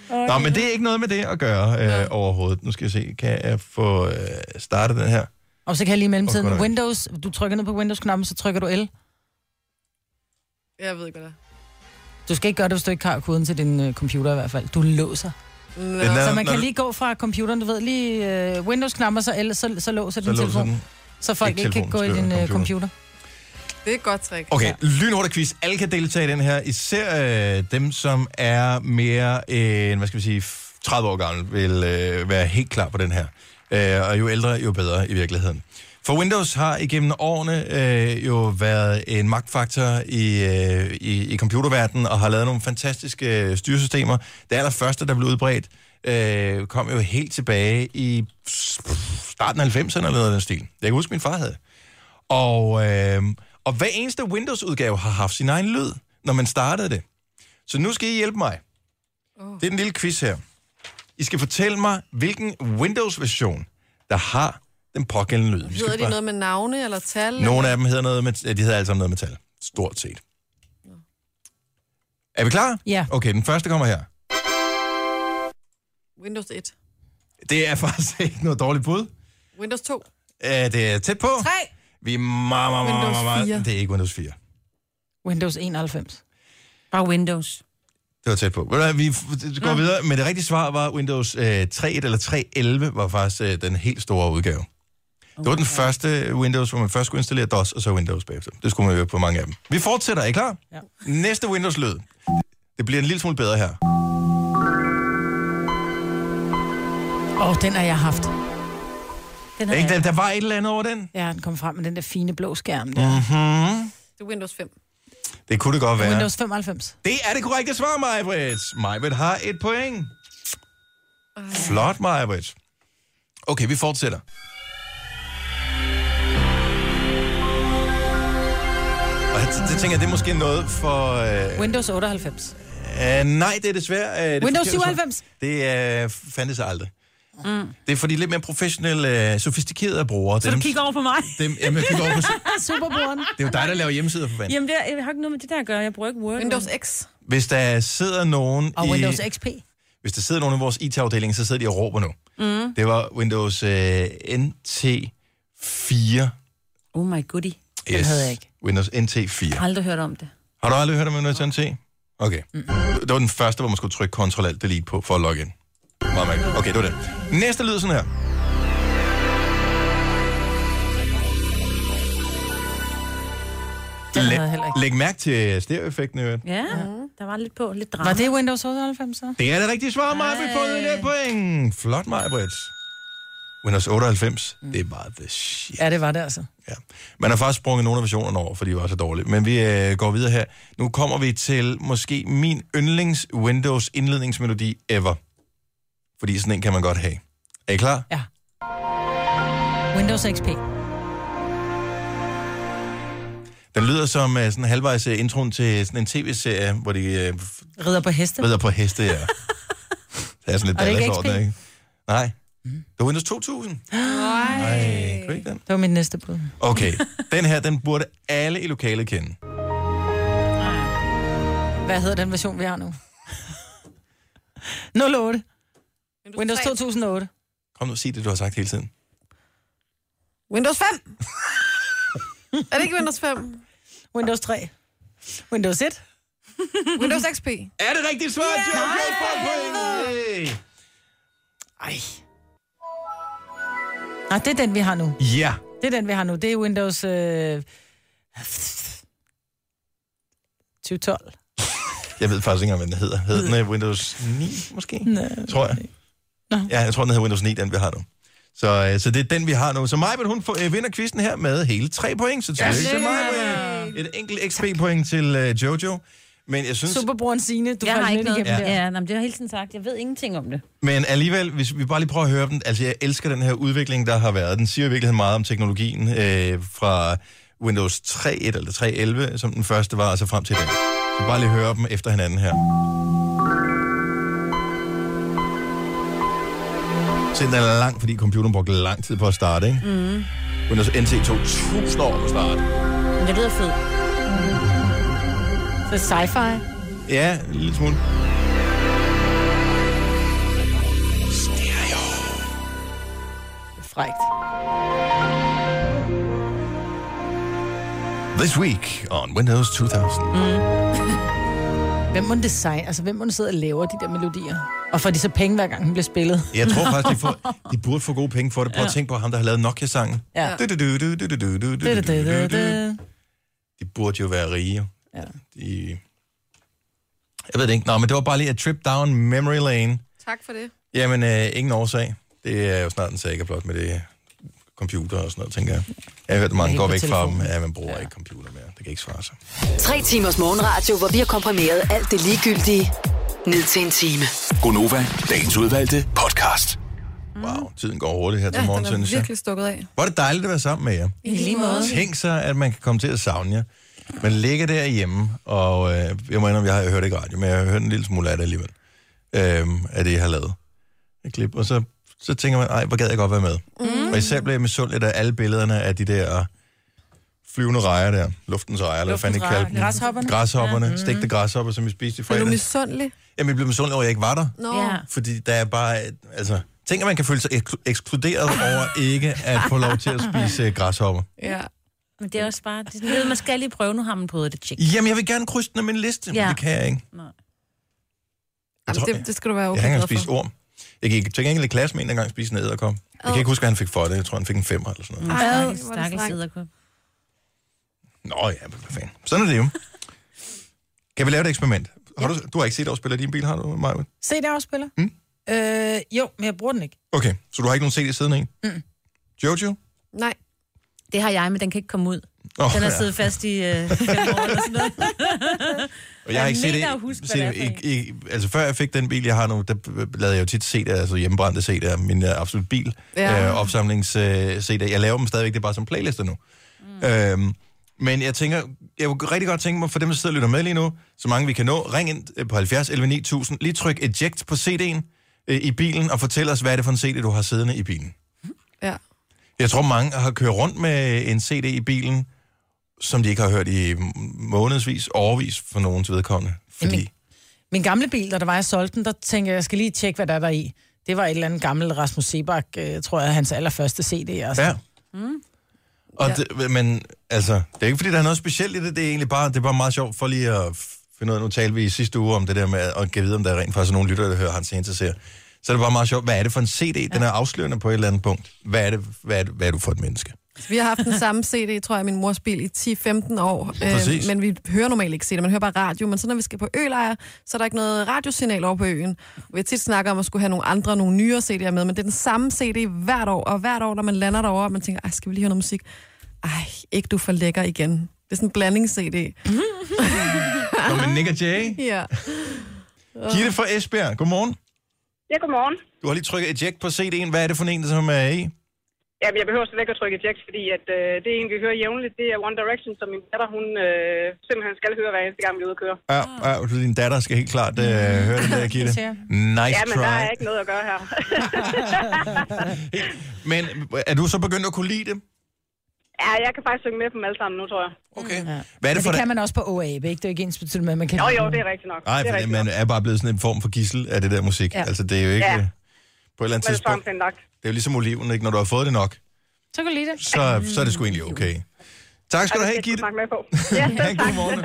Speaker 1: Nå, men det er ikke noget med det at gøre øh, overhovedet. Nu skal jeg se, kan jeg få øh, startet den her?
Speaker 3: Og så kan jeg lige i mellemtiden
Speaker 1: Åh, godt nok.
Speaker 3: Windows. Du trykker ned på Windows-knappen, så trykker du L.
Speaker 4: Jeg ved ikke, hvad det er.
Speaker 3: Du skal ikke gøre det, hvis du ikke har koden til din øh, computer i hvert fald. Du låser.
Speaker 1: Den
Speaker 4: Nå.
Speaker 1: er-
Speaker 3: Så man
Speaker 1: når
Speaker 3: kan
Speaker 1: du-
Speaker 3: lige gå fra computeren, du ved, lige øh, Windows-knapper, så, L, så, så låser
Speaker 1: så
Speaker 3: din
Speaker 1: låser
Speaker 3: telefon.
Speaker 1: den.
Speaker 3: Så folk
Speaker 1: Ikke
Speaker 3: ikke, ikke kan gå i
Speaker 1: telefonen,
Speaker 3: din
Speaker 1: skriver
Speaker 3: øh, computer.
Speaker 4: Det er et godt trick.
Speaker 1: Okay, lynhurtig quiz. Alle kan deltage i den her. Især øh, dem, som er mere end, hvad skal vi sige, f- 30 år gammel, vil øh, være helt klar på den her. Øh, og jo ældre, jo bedre i virkeligheden. For Windows har igennem årene øh, jo været en magtfaktor i, øh, i, i computerverdenen og har lavet nogle fantastiske øh, styresystemer. Det allerførste, der blev udbredt, øh, kom jo helt tilbage i starten af 90'erne eller noget af den stil. Jeg kan huske, min far havde. Og, øh, og hver eneste Windows-udgave har haft sin egen lyd, når man startede det. Så nu skal I hjælpe mig. Oh. Det er den lille quiz her. I skal fortælle mig, hvilken Windows-version, der har den pågældende lyd. Vi skal
Speaker 4: Hedder de
Speaker 1: bare-
Speaker 4: noget med navne eller tal?
Speaker 1: Nogle af dem hedder noget med... ja, De hedder alle sammen noget med tal. Stort set. Er vi klar?
Speaker 3: Ja.
Speaker 1: Okay, den første kommer her.
Speaker 4: Windows 1.
Speaker 1: Det er faktisk ikke noget dårligt bud.
Speaker 4: Windows 2.
Speaker 1: Øh, Det er tæt på. 3. Vi er meget, meget, meget,
Speaker 4: Windows
Speaker 1: meget, meget,
Speaker 4: 4.
Speaker 1: meget. Det er ikke Windows 4.
Speaker 3: Windows 91.
Speaker 2: Bare Windows.
Speaker 1: Det var tæt på. Ved du hvad, Vi f- går videre, men det rigtige svar var Windows øh, 3.1 eller 3.11 var faktisk øh, den helt store udgave. Det var den første Windows, hvor man først skulle installere DOS, og så Windows bagefter. Det skulle man jo på mange af dem. Vi fortsætter, er I klar?
Speaker 3: Ja.
Speaker 1: Næste Windows-lyd. Det bliver en lille smule bedre her.
Speaker 3: Åh, oh, den har jeg haft.
Speaker 2: Den
Speaker 1: Ja.
Speaker 2: har
Speaker 1: Ikke,
Speaker 2: jeg.
Speaker 1: der, der var et eller andet over den?
Speaker 3: Ja, den kom frem med den der fine blå skærm der. Mm.
Speaker 4: Det er Windows 5.
Speaker 1: Det kunne det godt være.
Speaker 3: Windows 95.
Speaker 1: Det er det korrekte svar, Majbrit. Majbrit har et point. Flot, Maja Britt. Okay, vi fortsætter. Og det, det tænker jeg, det er måske noget for... Øh,
Speaker 3: Windows 98.
Speaker 1: øh, nej, det er desværre... Øh, det
Speaker 3: Windows
Speaker 1: forkerte svar.
Speaker 3: 97.
Speaker 1: Det øh, fandtes aldrig.
Speaker 3: Mm.
Speaker 1: Det er for de lidt mere professionelle, øh, sofistikerede brugere.
Speaker 2: Så du kigger over på mig?
Speaker 1: Dem, jamen, jeg kigger over på...
Speaker 2: Superbrugeren.
Speaker 1: Det er jo dig, der laver hjemmesider for fanden.
Speaker 2: Jamen, det, er- jeg har ikke noget med det der at gøre. Jeg bruger ikke Word.
Speaker 4: Windows X.
Speaker 1: Hvis der sidder nogen
Speaker 2: Og
Speaker 1: i...
Speaker 2: Windows XP.
Speaker 1: Hvis der sidder nogen i vores IT-afdeling, så sidder de og råber nu.
Speaker 2: Mm.
Speaker 1: Det var Windows øh, NT4.
Speaker 2: Oh my goodie.
Speaker 1: Yes.
Speaker 2: Den havde jeg ikke.
Speaker 1: Windows NT4.
Speaker 2: Jeg har aldrig hørt om det.
Speaker 1: Har du aldrig hørt om Windows NT? Okay. Mm. Det var den første, hvor man skulle trykke Ctrl Alt Delete på for at logge ind. Meget mærkeligt. Okay, det var det. Næste lyd er sådan her.
Speaker 3: Den havde jeg heller
Speaker 1: Læg,
Speaker 3: ikke.
Speaker 1: læg mærke til stereoeffekten, i øvrigt.
Speaker 2: Ja, der var lidt på, lidt drama.
Speaker 3: Var det Windows 98 så?
Speaker 1: Det er det rigtige svar, Maja. Vi får det point. Flot, Maja Brits. Windows 98, mm. det var the shit.
Speaker 3: Ja, det var det altså.
Speaker 1: Man har faktisk sprunget nogle af versionerne over, fordi de var så dårlige. Men vi øh, går videre her. Nu kommer vi til måske min yndlings Windows indledningsmelodi ever. Fordi sådan en kan man godt have. Er I klar?
Speaker 3: Ja. Windows XP.
Speaker 1: Den lyder som øh, sådan halvvejs øh, introen til sådan en tv-serie, hvor de øh,
Speaker 3: Rider på heste.
Speaker 1: rider på heste. Ja. det er sådan lidt
Speaker 3: Og det er ikke Mm.
Speaker 1: dallas over den, ikke? Nej. Det var Windows 2000. Nej. Kan du ikke den?
Speaker 3: Det var min næste bud.
Speaker 1: Okay, den her, den burde alle i lokalet kende.
Speaker 3: Hvad hedder den version, vi har nu? 08. Windows 2008.
Speaker 1: Kom nu og sig det, du har sagt hele tiden.
Speaker 4: Windows 5. er det ikke Windows 5?
Speaker 3: Windows 3. Windows 1.
Speaker 4: Windows XP.
Speaker 1: Er det rigtigt svar, yeah! Joe? Great for point! Hey!
Speaker 3: Ej. Nej, Ah, det er den, vi har nu.
Speaker 1: Ja,
Speaker 3: Det er den, vi har nu. Det er Windows... Øh... 2012.
Speaker 1: jeg ved faktisk ikke engang, hvad den hedder. Hed den øh, Windows 9, måske?
Speaker 3: Nej.
Speaker 1: Tror jeg. Ja, jeg tror, den hedder Windows 9, den vi har nu. Så, øh, så det er den, vi har nu. Så Majbert, hun får, øh, vinder quizzen her med hele tre point. Så tillykke til Majbert. Et enkelt XP-point til øh, Jojo. Men jeg synes,
Speaker 3: Superbrugeren Signe, du
Speaker 2: jeg har
Speaker 3: faldt
Speaker 2: ikke
Speaker 3: lidt
Speaker 2: noget.
Speaker 3: igennem
Speaker 2: Ja,
Speaker 3: der.
Speaker 2: ja nej, men det har jeg hele tiden sagt. Jeg ved ingenting om det.
Speaker 1: Men alligevel, hvis vi bare lige prøver at høre dem, altså jeg elsker den her udvikling, der har været. Den siger i virkeligheden meget om teknologien øh, fra Windows 3.1 eller 3.11, som den første var, og så frem til den. Så bare lige høre dem efter hinanden her. Så den er lang, fordi computeren brugte lang tid på at starte, ikke?
Speaker 2: Mm.
Speaker 1: Windows NT tog 1000 år på at starte.
Speaker 2: Men det lyder fedt.
Speaker 3: Så sci-fi.
Speaker 1: Ja, en lille smule.
Speaker 3: Frægt.
Speaker 1: This week on Windows 2000.
Speaker 3: Hvem må design, altså hvem må sidde og laver de der melodier? Og får de så penge, hver gang den bliver spillet?
Speaker 1: Jeg tror faktisk, de, får, de burde få gode penge for det. Prøv at
Speaker 3: Ja.
Speaker 1: tænke på ham, der har lavet Nokia-sangen.
Speaker 3: Ja.
Speaker 1: Du-du-du-du-du-du-du-du-du-du-du. De burde jo være rige.
Speaker 3: Ja.
Speaker 1: De... Jeg ved det ikke. Nå, men det var bare lige et trip down memory lane.
Speaker 4: Tak for det.
Speaker 1: Jamen, øh, ingen årsag. Det er jo snart en sag, blot med det computer og sådan noget, tænker jeg. Jeg har hørt, at mange
Speaker 6: Helt
Speaker 1: går
Speaker 6: på
Speaker 1: væk fra dem.
Speaker 6: telefonen.
Speaker 1: Ja, man bruger ja. ikke computer mere. Det kan ikke svare sig.
Speaker 5: Tre timers morgenradio, hvor vi har komprimeret alt det ligegyldige ned til en time.
Speaker 6: Gonova, dagens udvalgte podcast.
Speaker 1: Wow, tiden går hurtigt her til morgen,
Speaker 4: den er
Speaker 1: synes jeg.
Speaker 4: virkelig stukket af.
Speaker 1: Hvor er det dejligt at være sammen med jer.
Speaker 4: I lige måde.
Speaker 1: Tænk sig, at man kan komme til at savne jer. Man ligger derhjemme, og øh, jeg må indrømme, jeg har hørt ikke radio, men jeg har hørt en lille smule af det alligevel, øh, af det, jeg har lavet. Et klip, og så, så tænker man, ej, hvor gad jeg godt være med. Mm. Og især blev jeg misundelig af alle billederne af de der flyvende rejer der, luftens rejer, eller hvad fanden
Speaker 4: Luftens
Speaker 1: ikke
Speaker 4: rejer,
Speaker 1: kaldte dem.
Speaker 4: græshopperne.
Speaker 1: Græshopperne,
Speaker 4: Ja. Mm.
Speaker 1: ja. stegte græshopper, som vi spiste i
Speaker 4: Er du
Speaker 1: fredags.
Speaker 4: misundelig?
Speaker 1: Jamen, jeg blev misundelig over, at jeg ikke var der.
Speaker 4: Nå. Ja.
Speaker 1: Fordi der er bare, altså, tænk, at man kan føle sig eksklu- ekskluderet over ikke at få lov til at spise øh, græshopper.
Speaker 4: Ja.
Speaker 2: Men det er også bare... Det er sådan noget, man skal lige prøve. Nu har man prøvet det, tjek.
Speaker 1: Jamen, jeg vil gerne krydse den af min liste, ja.
Speaker 2: Ja.
Speaker 1: men det kan jeg ikke. Jeg tror,
Speaker 4: det, det skal du være
Speaker 1: Jeg
Speaker 4: okay
Speaker 1: har ikke engang
Speaker 4: glad
Speaker 1: spist
Speaker 4: for.
Speaker 1: orm. Jeg gik til gengæld i klasse med en, der engang spiste en æderkop. Jeg kan
Speaker 4: Åh.
Speaker 1: ikke huske, hvad han fik for det. Jeg tror, han fik en femmer eller sådan noget.
Speaker 2: Ej,
Speaker 4: Ad,
Speaker 2: stakkels-
Speaker 4: hvor er det
Speaker 2: stakkels
Speaker 4: strengt.
Speaker 2: edderkop.
Speaker 1: Nå ja, men hvad fanden. Sådan er det jo. Kan vi lave et eksperiment? Har du, du har ikke set os spille din bil, har du, Maja?
Speaker 3: Se der afspiller? Mm. Øh, jo, men jeg bruger den ikke.
Speaker 1: Okay, så du har ikke nogen CD siden af en?
Speaker 3: Mm.
Speaker 1: Jojo?
Speaker 4: Nej.
Speaker 2: Det har jeg, men den kan ikke komme ud. Oh,
Speaker 1: Åh,
Speaker 2: den har
Speaker 1: ja.
Speaker 2: siddet fast i øh, fem år eller sådan noget.
Speaker 1: Og jeg har ikke set det,
Speaker 2: Jeg huske,
Speaker 1: set
Speaker 2: hvad det
Speaker 1: det
Speaker 2: er for en.
Speaker 1: ikke, ikke, altså før jeg fik den bil, jeg har nu, der b- lavede jeg jo tit CD'er, altså hjemmebrændte CD'er, min uh, absolut bil,
Speaker 6: Ja.
Speaker 1: ja. øh, opsamlings uh, CD'er. Jeg laver dem stadigvæk, det er bare som playlister nu. Mm. Øhm, men jeg tænker, jeg kunne rigtig godt tænke mig, for dem, der sidder og lytter med lige nu, så mange vi kan nå, ring ind øh, på 70 11 9000, lige tryk eject på CD'en øh, i bilen, og fortæl os, hvad er det for en CD, du har siddende i bilen.
Speaker 4: Ja.
Speaker 1: Jeg tror, mange har kørt rundt med en CD i bilen, som de ikke har hørt i månedsvis, overvis for nogens vedkommende. Fordi...
Speaker 3: Min gamle bil, da der var, jeg solgte den, der tænkte jeg, jeg skal lige tjekke, hvad der er der i. Det var et eller andet gammelt Rasmus Sebak, øh, tror jeg, hans allerførste CD. Altså.
Speaker 1: Ja.
Speaker 3: Mm.
Speaker 1: Og
Speaker 3: Ja.
Speaker 1: ja. det, men altså, det er ikke fordi, der er noget specielt i det. Det er egentlig bare, det er bare meget sjovt for lige at f- finde ud af, nu talte vi i sidste uge om det der med at give videre, om der er rent faktisk er nogen lytter, der hører hans interesser. Så er det bare meget sjovt, hvad er det for en CD? Den er afslørende på et eller andet punkt. Hvad er, det, hvad er, det, hvad er du for et menneske?
Speaker 4: Vi har haft den samme CD, tror jeg, i min mors bil i 10-15 år. Øhm,
Speaker 1: Præcis.
Speaker 4: men vi hører normalt ikke CD, man hører bare radio. Men så når vi skal på ølejr, så er der ikke noget radiosignal over på øen. Vi har tit snakket om at skulle have nogle andre, nogle nyere CD'er med, men det er den samme CD hvert år. Og hvert år, når man lander derovre, og man tænker, Ej, skal vi lige høre noget musik? Ej, ikke du for lækker igen. Det er sådan en blandings-CD.
Speaker 1: Nå, men Nick og Jay.
Speaker 4: ja.
Speaker 1: Gitte fra Esbjerg, godmorgen.
Speaker 11: Ja, godmorgen.
Speaker 1: Du har lige trykket eject på CD'en. Hvad er det for en, som er i?
Speaker 11: Jamen, jeg behøver slet ikke at trykke eject, fordi at, øh, det, en, vi hører jævnligt, det er One Direction, som min datter, hun øh, simpelthen skal høre hver eneste gang, vi er ude at køre.
Speaker 1: Ja, ja, din datter skal helt klart øh, høre det der, Gitte.
Speaker 11: Ja.
Speaker 1: Nice
Speaker 11: ja, men der
Speaker 1: try.
Speaker 11: er ikke noget at gøre her.
Speaker 1: Men er du så begyndt at kunne lide det?
Speaker 11: ja, jeg kan faktisk synge med på dem alle sammen nu, tror jeg.
Speaker 1: Okay.
Speaker 3: Ja.
Speaker 1: Hvad er det
Speaker 3: Men
Speaker 1: for
Speaker 3: det
Speaker 1: det?
Speaker 3: kan man også på OAB, ikke? Det er jo ikke ens betydende med, at man kan...
Speaker 11: Jo, jo, det er rigtigt nok.
Speaker 1: Nej,
Speaker 11: det er
Speaker 1: for det,
Speaker 11: rigtigt
Speaker 1: man er bare blevet sådan en form for gissel af det der musik.
Speaker 11: Ja.
Speaker 1: Ja. Altså, det er jo ikke...
Speaker 11: Ja.
Speaker 1: Ja. På et eller
Speaker 11: nok.
Speaker 1: andet
Speaker 11: Men
Speaker 1: tidspunkt...
Speaker 11: sådan nok.
Speaker 1: Det er jo ligesom oliven, ikke? Når du har fået det nok,
Speaker 3: Så kan du lide det.
Speaker 1: så, så er det sgu egentlig okay. Tak skal du have, Gitte.
Speaker 11: Snakke med på. Ja, tak. God morgen.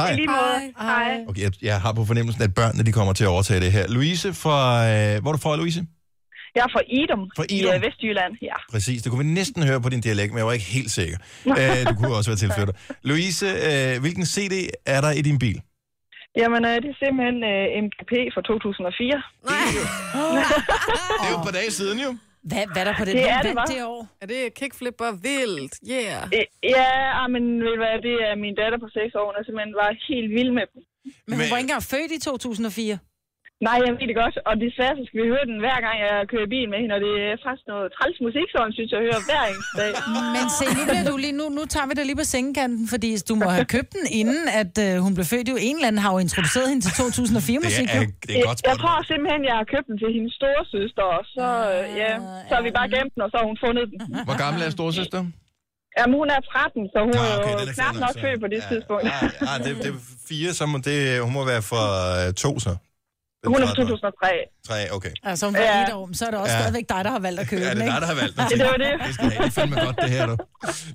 Speaker 1: Hej.
Speaker 11: I lige måde. Hej.
Speaker 1: Okay, jeg, jeg har på fornemmelsen, at børnene de kommer til at overtage det her. Louise fra... Øh, hvor er du fra, Louise?
Speaker 12: Jeg er fra Idom,
Speaker 1: Fra
Speaker 12: i
Speaker 1: Idom.
Speaker 12: øh, Vestjylland. Ja.
Speaker 1: Præcis, det kunne vi næsten høre på din dialekt, men jeg var ikke helt sikker. øh, du kunne også være tilflytter. Louise, øh, hvilken CD er der i din bil?
Speaker 12: Jamen, øh, det er simpelthen øh, MGP fra 2004.
Speaker 1: Det er jo på dage siden, jo.
Speaker 3: Hvad, hvad er der på den?
Speaker 12: Det
Speaker 3: Hvem
Speaker 12: er det,
Speaker 3: vandt
Speaker 12: hva'?
Speaker 3: det år?
Speaker 4: Er det kickflipper vildt? Yeah.
Speaker 12: Øh, Ja, ah, men ved du hvad, det er min datter på 6 år, hun er simpelthen var helt vild med dem.
Speaker 3: Men hun var ikke engang født i 2004.
Speaker 12: Nej, jeg ved det godt, og desværre så skal vi høre den hver gang, jeg kører i bil med hende, og det er faktisk noget træls musik, så hun synes, jeg hører hver eneste dag.
Speaker 3: Men se, nu, bliver du lige, nu, nu tager vi dig lige på sengekanten, fordi du må have købt den, inden at øh, hun blev født. Jo, en eller anden har jo introduceret hende til 2004-musik. jo.
Speaker 12: Øh, Jeg tror simpelthen, jeg har købt den til hendes store søster, og så, øh, ja, så har vi bare gemt den, og så har hun fundet den.
Speaker 1: Hvor gammel er storsøster?
Speaker 12: Jamen, hun er 13, så hun
Speaker 1: Ah,
Speaker 12: ah,
Speaker 1: okay,
Speaker 12: okay, er
Speaker 1: den
Speaker 12: jo
Speaker 1: er
Speaker 12: knap
Speaker 1: fair nok,
Speaker 12: nok
Speaker 1: så.
Speaker 12: født på det
Speaker 1: Ja,
Speaker 12: tidspunkt.
Speaker 1: Ja, det, det er fire, så må det, hun må være fra øh, to, så.
Speaker 12: Hun er fra 2003.
Speaker 1: Tre, okay.
Speaker 3: Altså, hun var
Speaker 12: Ja.
Speaker 3: et år, så er det også
Speaker 1: Ja.
Speaker 3: stadigvæk dig, der har valgt at købe
Speaker 1: Ja,
Speaker 3: den,
Speaker 1: det er
Speaker 3: ikke?
Speaker 1: dig, der har valgt den.
Speaker 12: Ja, det var det.
Speaker 1: Det skal have. Det er fandme godt, det her, du.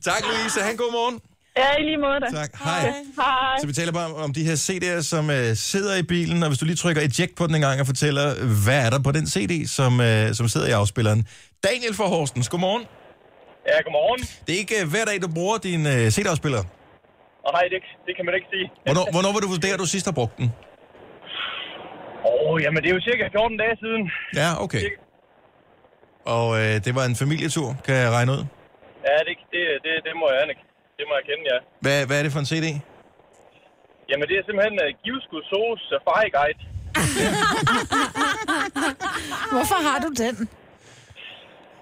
Speaker 1: Tak, Louise. Han god morgen.
Speaker 12: Ja, i lige måde da.
Speaker 1: Tak. Hej.
Speaker 12: Hej.
Speaker 1: Så vi taler bare om, om de her CD'er, som øh, sidder i bilen, og hvis du lige trykker eject på den en gang og fortæller, hvad er der på den CD, som, øh, som sidder i afspilleren. Daniel fra Horsens, godmorgen.
Speaker 13: Ja, godmorgen.
Speaker 1: Det er ikke øh, hver dag, du bruger din øh, CD-afspiller.
Speaker 13: Og nej, det, det kan man ikke sige.
Speaker 1: Hvornår, hvornår var du vurdere, at du sidst har brugt den?
Speaker 13: Åh, oh, jamen det er jo cirka 14 dage siden.
Speaker 1: Ja, okay. Og øh, det var en familietur, kan jeg regne ud.
Speaker 13: Ja, det, det, det, det må jeg anerk- Det må jeg kende, ja.
Speaker 1: Hvad, hvad er det for en CD?
Speaker 13: Jamen det er simpelthen uh, Givskud Soos Safari Guide.
Speaker 3: Hvorfor har du den?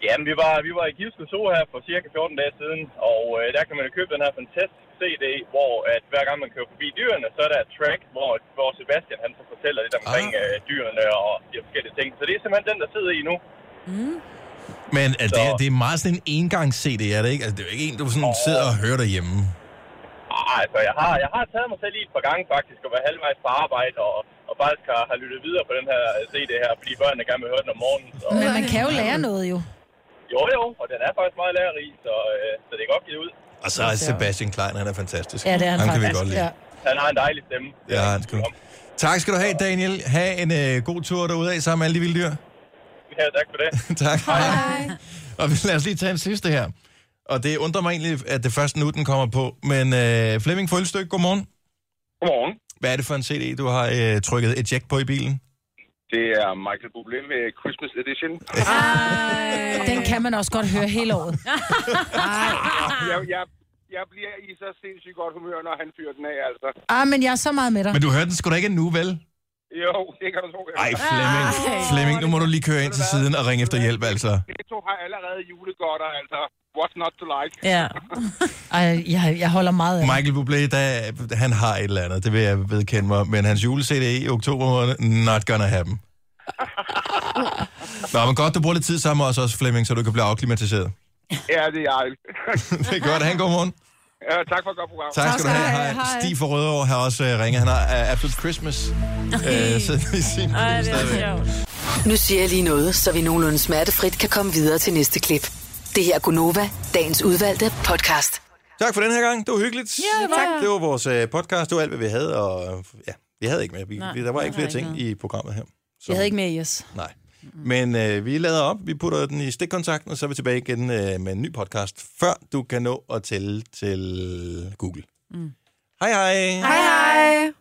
Speaker 13: Jamen vi var, vi var i Givskud Zoo her for cirka 14 dage siden, og uh, der kan man jo købe den her fantastiske CD, hvor at hver gang man kører forbi dyrene, så er der et track, hvor, hvor Sebastian han så fortæller lidt omkring ah. uh, dyrene og de forskellige ting. Så det er simpelthen den, der sidder i nu.
Speaker 1: Men altså, det, er, det er meget sådan en engangs-CD, er det ikke? Altså, det er jo ikke en, du sådan oh. sidder og hører derhjemme.
Speaker 13: Ej, altså, jeg har, jeg har taget mig selv i et par gange faktisk, og været halvvejs på arbejde, og, og faktisk har, har lyttet videre på den her CD her, fordi børnene gerne vil høre den om morgenen. Så,
Speaker 3: Men man kan jo lære noget, jo.
Speaker 13: Jo, jo, og den er faktisk meget lærerig, så, øh, så det er godt givet ud.
Speaker 1: Og så er Sebastian Klein, han er fantastisk.
Speaker 3: Ja, det er han
Speaker 1: Ham kan vi
Speaker 3: faktisk,
Speaker 1: godt lide.
Speaker 3: ja.
Speaker 13: Han har en dejlig stemme.
Speaker 1: Ja, han skal. Tak skal du have, Daniel. Ha' en øh, god tur derude af sammen med alle de vilde dyr.
Speaker 13: Ja, tak for det.
Speaker 1: tak. Hej. Og lad os lige tage en sidste her. Og det undrer mig egentlig, at det først nu, den kommer på. Men øh, Flemming Følstykke, godmorgen.
Speaker 14: Godmorgen.
Speaker 1: Hvad er det for en CD, du har øh, trykket eject på i bilen?
Speaker 14: Det er Michael Bublé med Christmas Edition.
Speaker 3: Den kan man også godt høre hele året.
Speaker 14: jeg, jeg, jeg bliver i så sindssygt godt humør, når han fyrer den af, altså.
Speaker 3: Ah, men jeg er så meget med dig.
Speaker 1: Men du hørte den sgu da ikke nu, vel?
Speaker 14: Jo, det kan du tro. jeg
Speaker 1: Ej,
Speaker 14: gør.
Speaker 1: Flemming. Flemming, nu må du lige køre ind til siden og ringe efter hjælp, altså.
Speaker 14: Netto har allerede julegodter, altså. What's not to like?
Speaker 3: Ja. Ej, jeg, jeg holder meget af
Speaker 1: Michael Bublé, der, han har et eller andet, det vil jeg vedkende mig. Men hans jule-CD i oktober måned, not gonna happen. Nå, men godt, du bruger lidt tid sammen med os også, Flemming, så du kan blive afklimatiseret.
Speaker 14: Ja, det er jeg.
Speaker 1: det er godt. Han, godmorgen.
Speaker 14: Ja, tak for et godt program.
Speaker 1: Tak skal du have. Hej. Stig fra Rødovre har også øh, ringet. Han har uh, Absolute Christmas. Øh, så i sin
Speaker 5: Ej, det er Nu siger jeg lige noget, så vi nogenlunde smertefrit kan komme videre til næste klip. Det her er Gunova, dagens udvalgte podcast.
Speaker 1: Tak for den her gang. Det var hyggeligt.
Speaker 5: Ja, det var det.
Speaker 1: Det var vores øh, podcast. Det var alt, hvad vi havde. Og, øh, ja, vi havde ikke mere. Vi,
Speaker 3: Nej,
Speaker 1: Nej, der var
Speaker 3: der
Speaker 1: ikke flere
Speaker 3: var ikke
Speaker 1: ting i programmet her.
Speaker 3: Jeg havde ikke mere yes.
Speaker 1: Nej. Men øh, vi lader op, vi putter den i stikkontakten, og så er vi tilbage igen øh, med en ny podcast, før du kan nå at tælle til Google.
Speaker 3: Mm.
Speaker 1: Hej hej!
Speaker 4: Hej hej.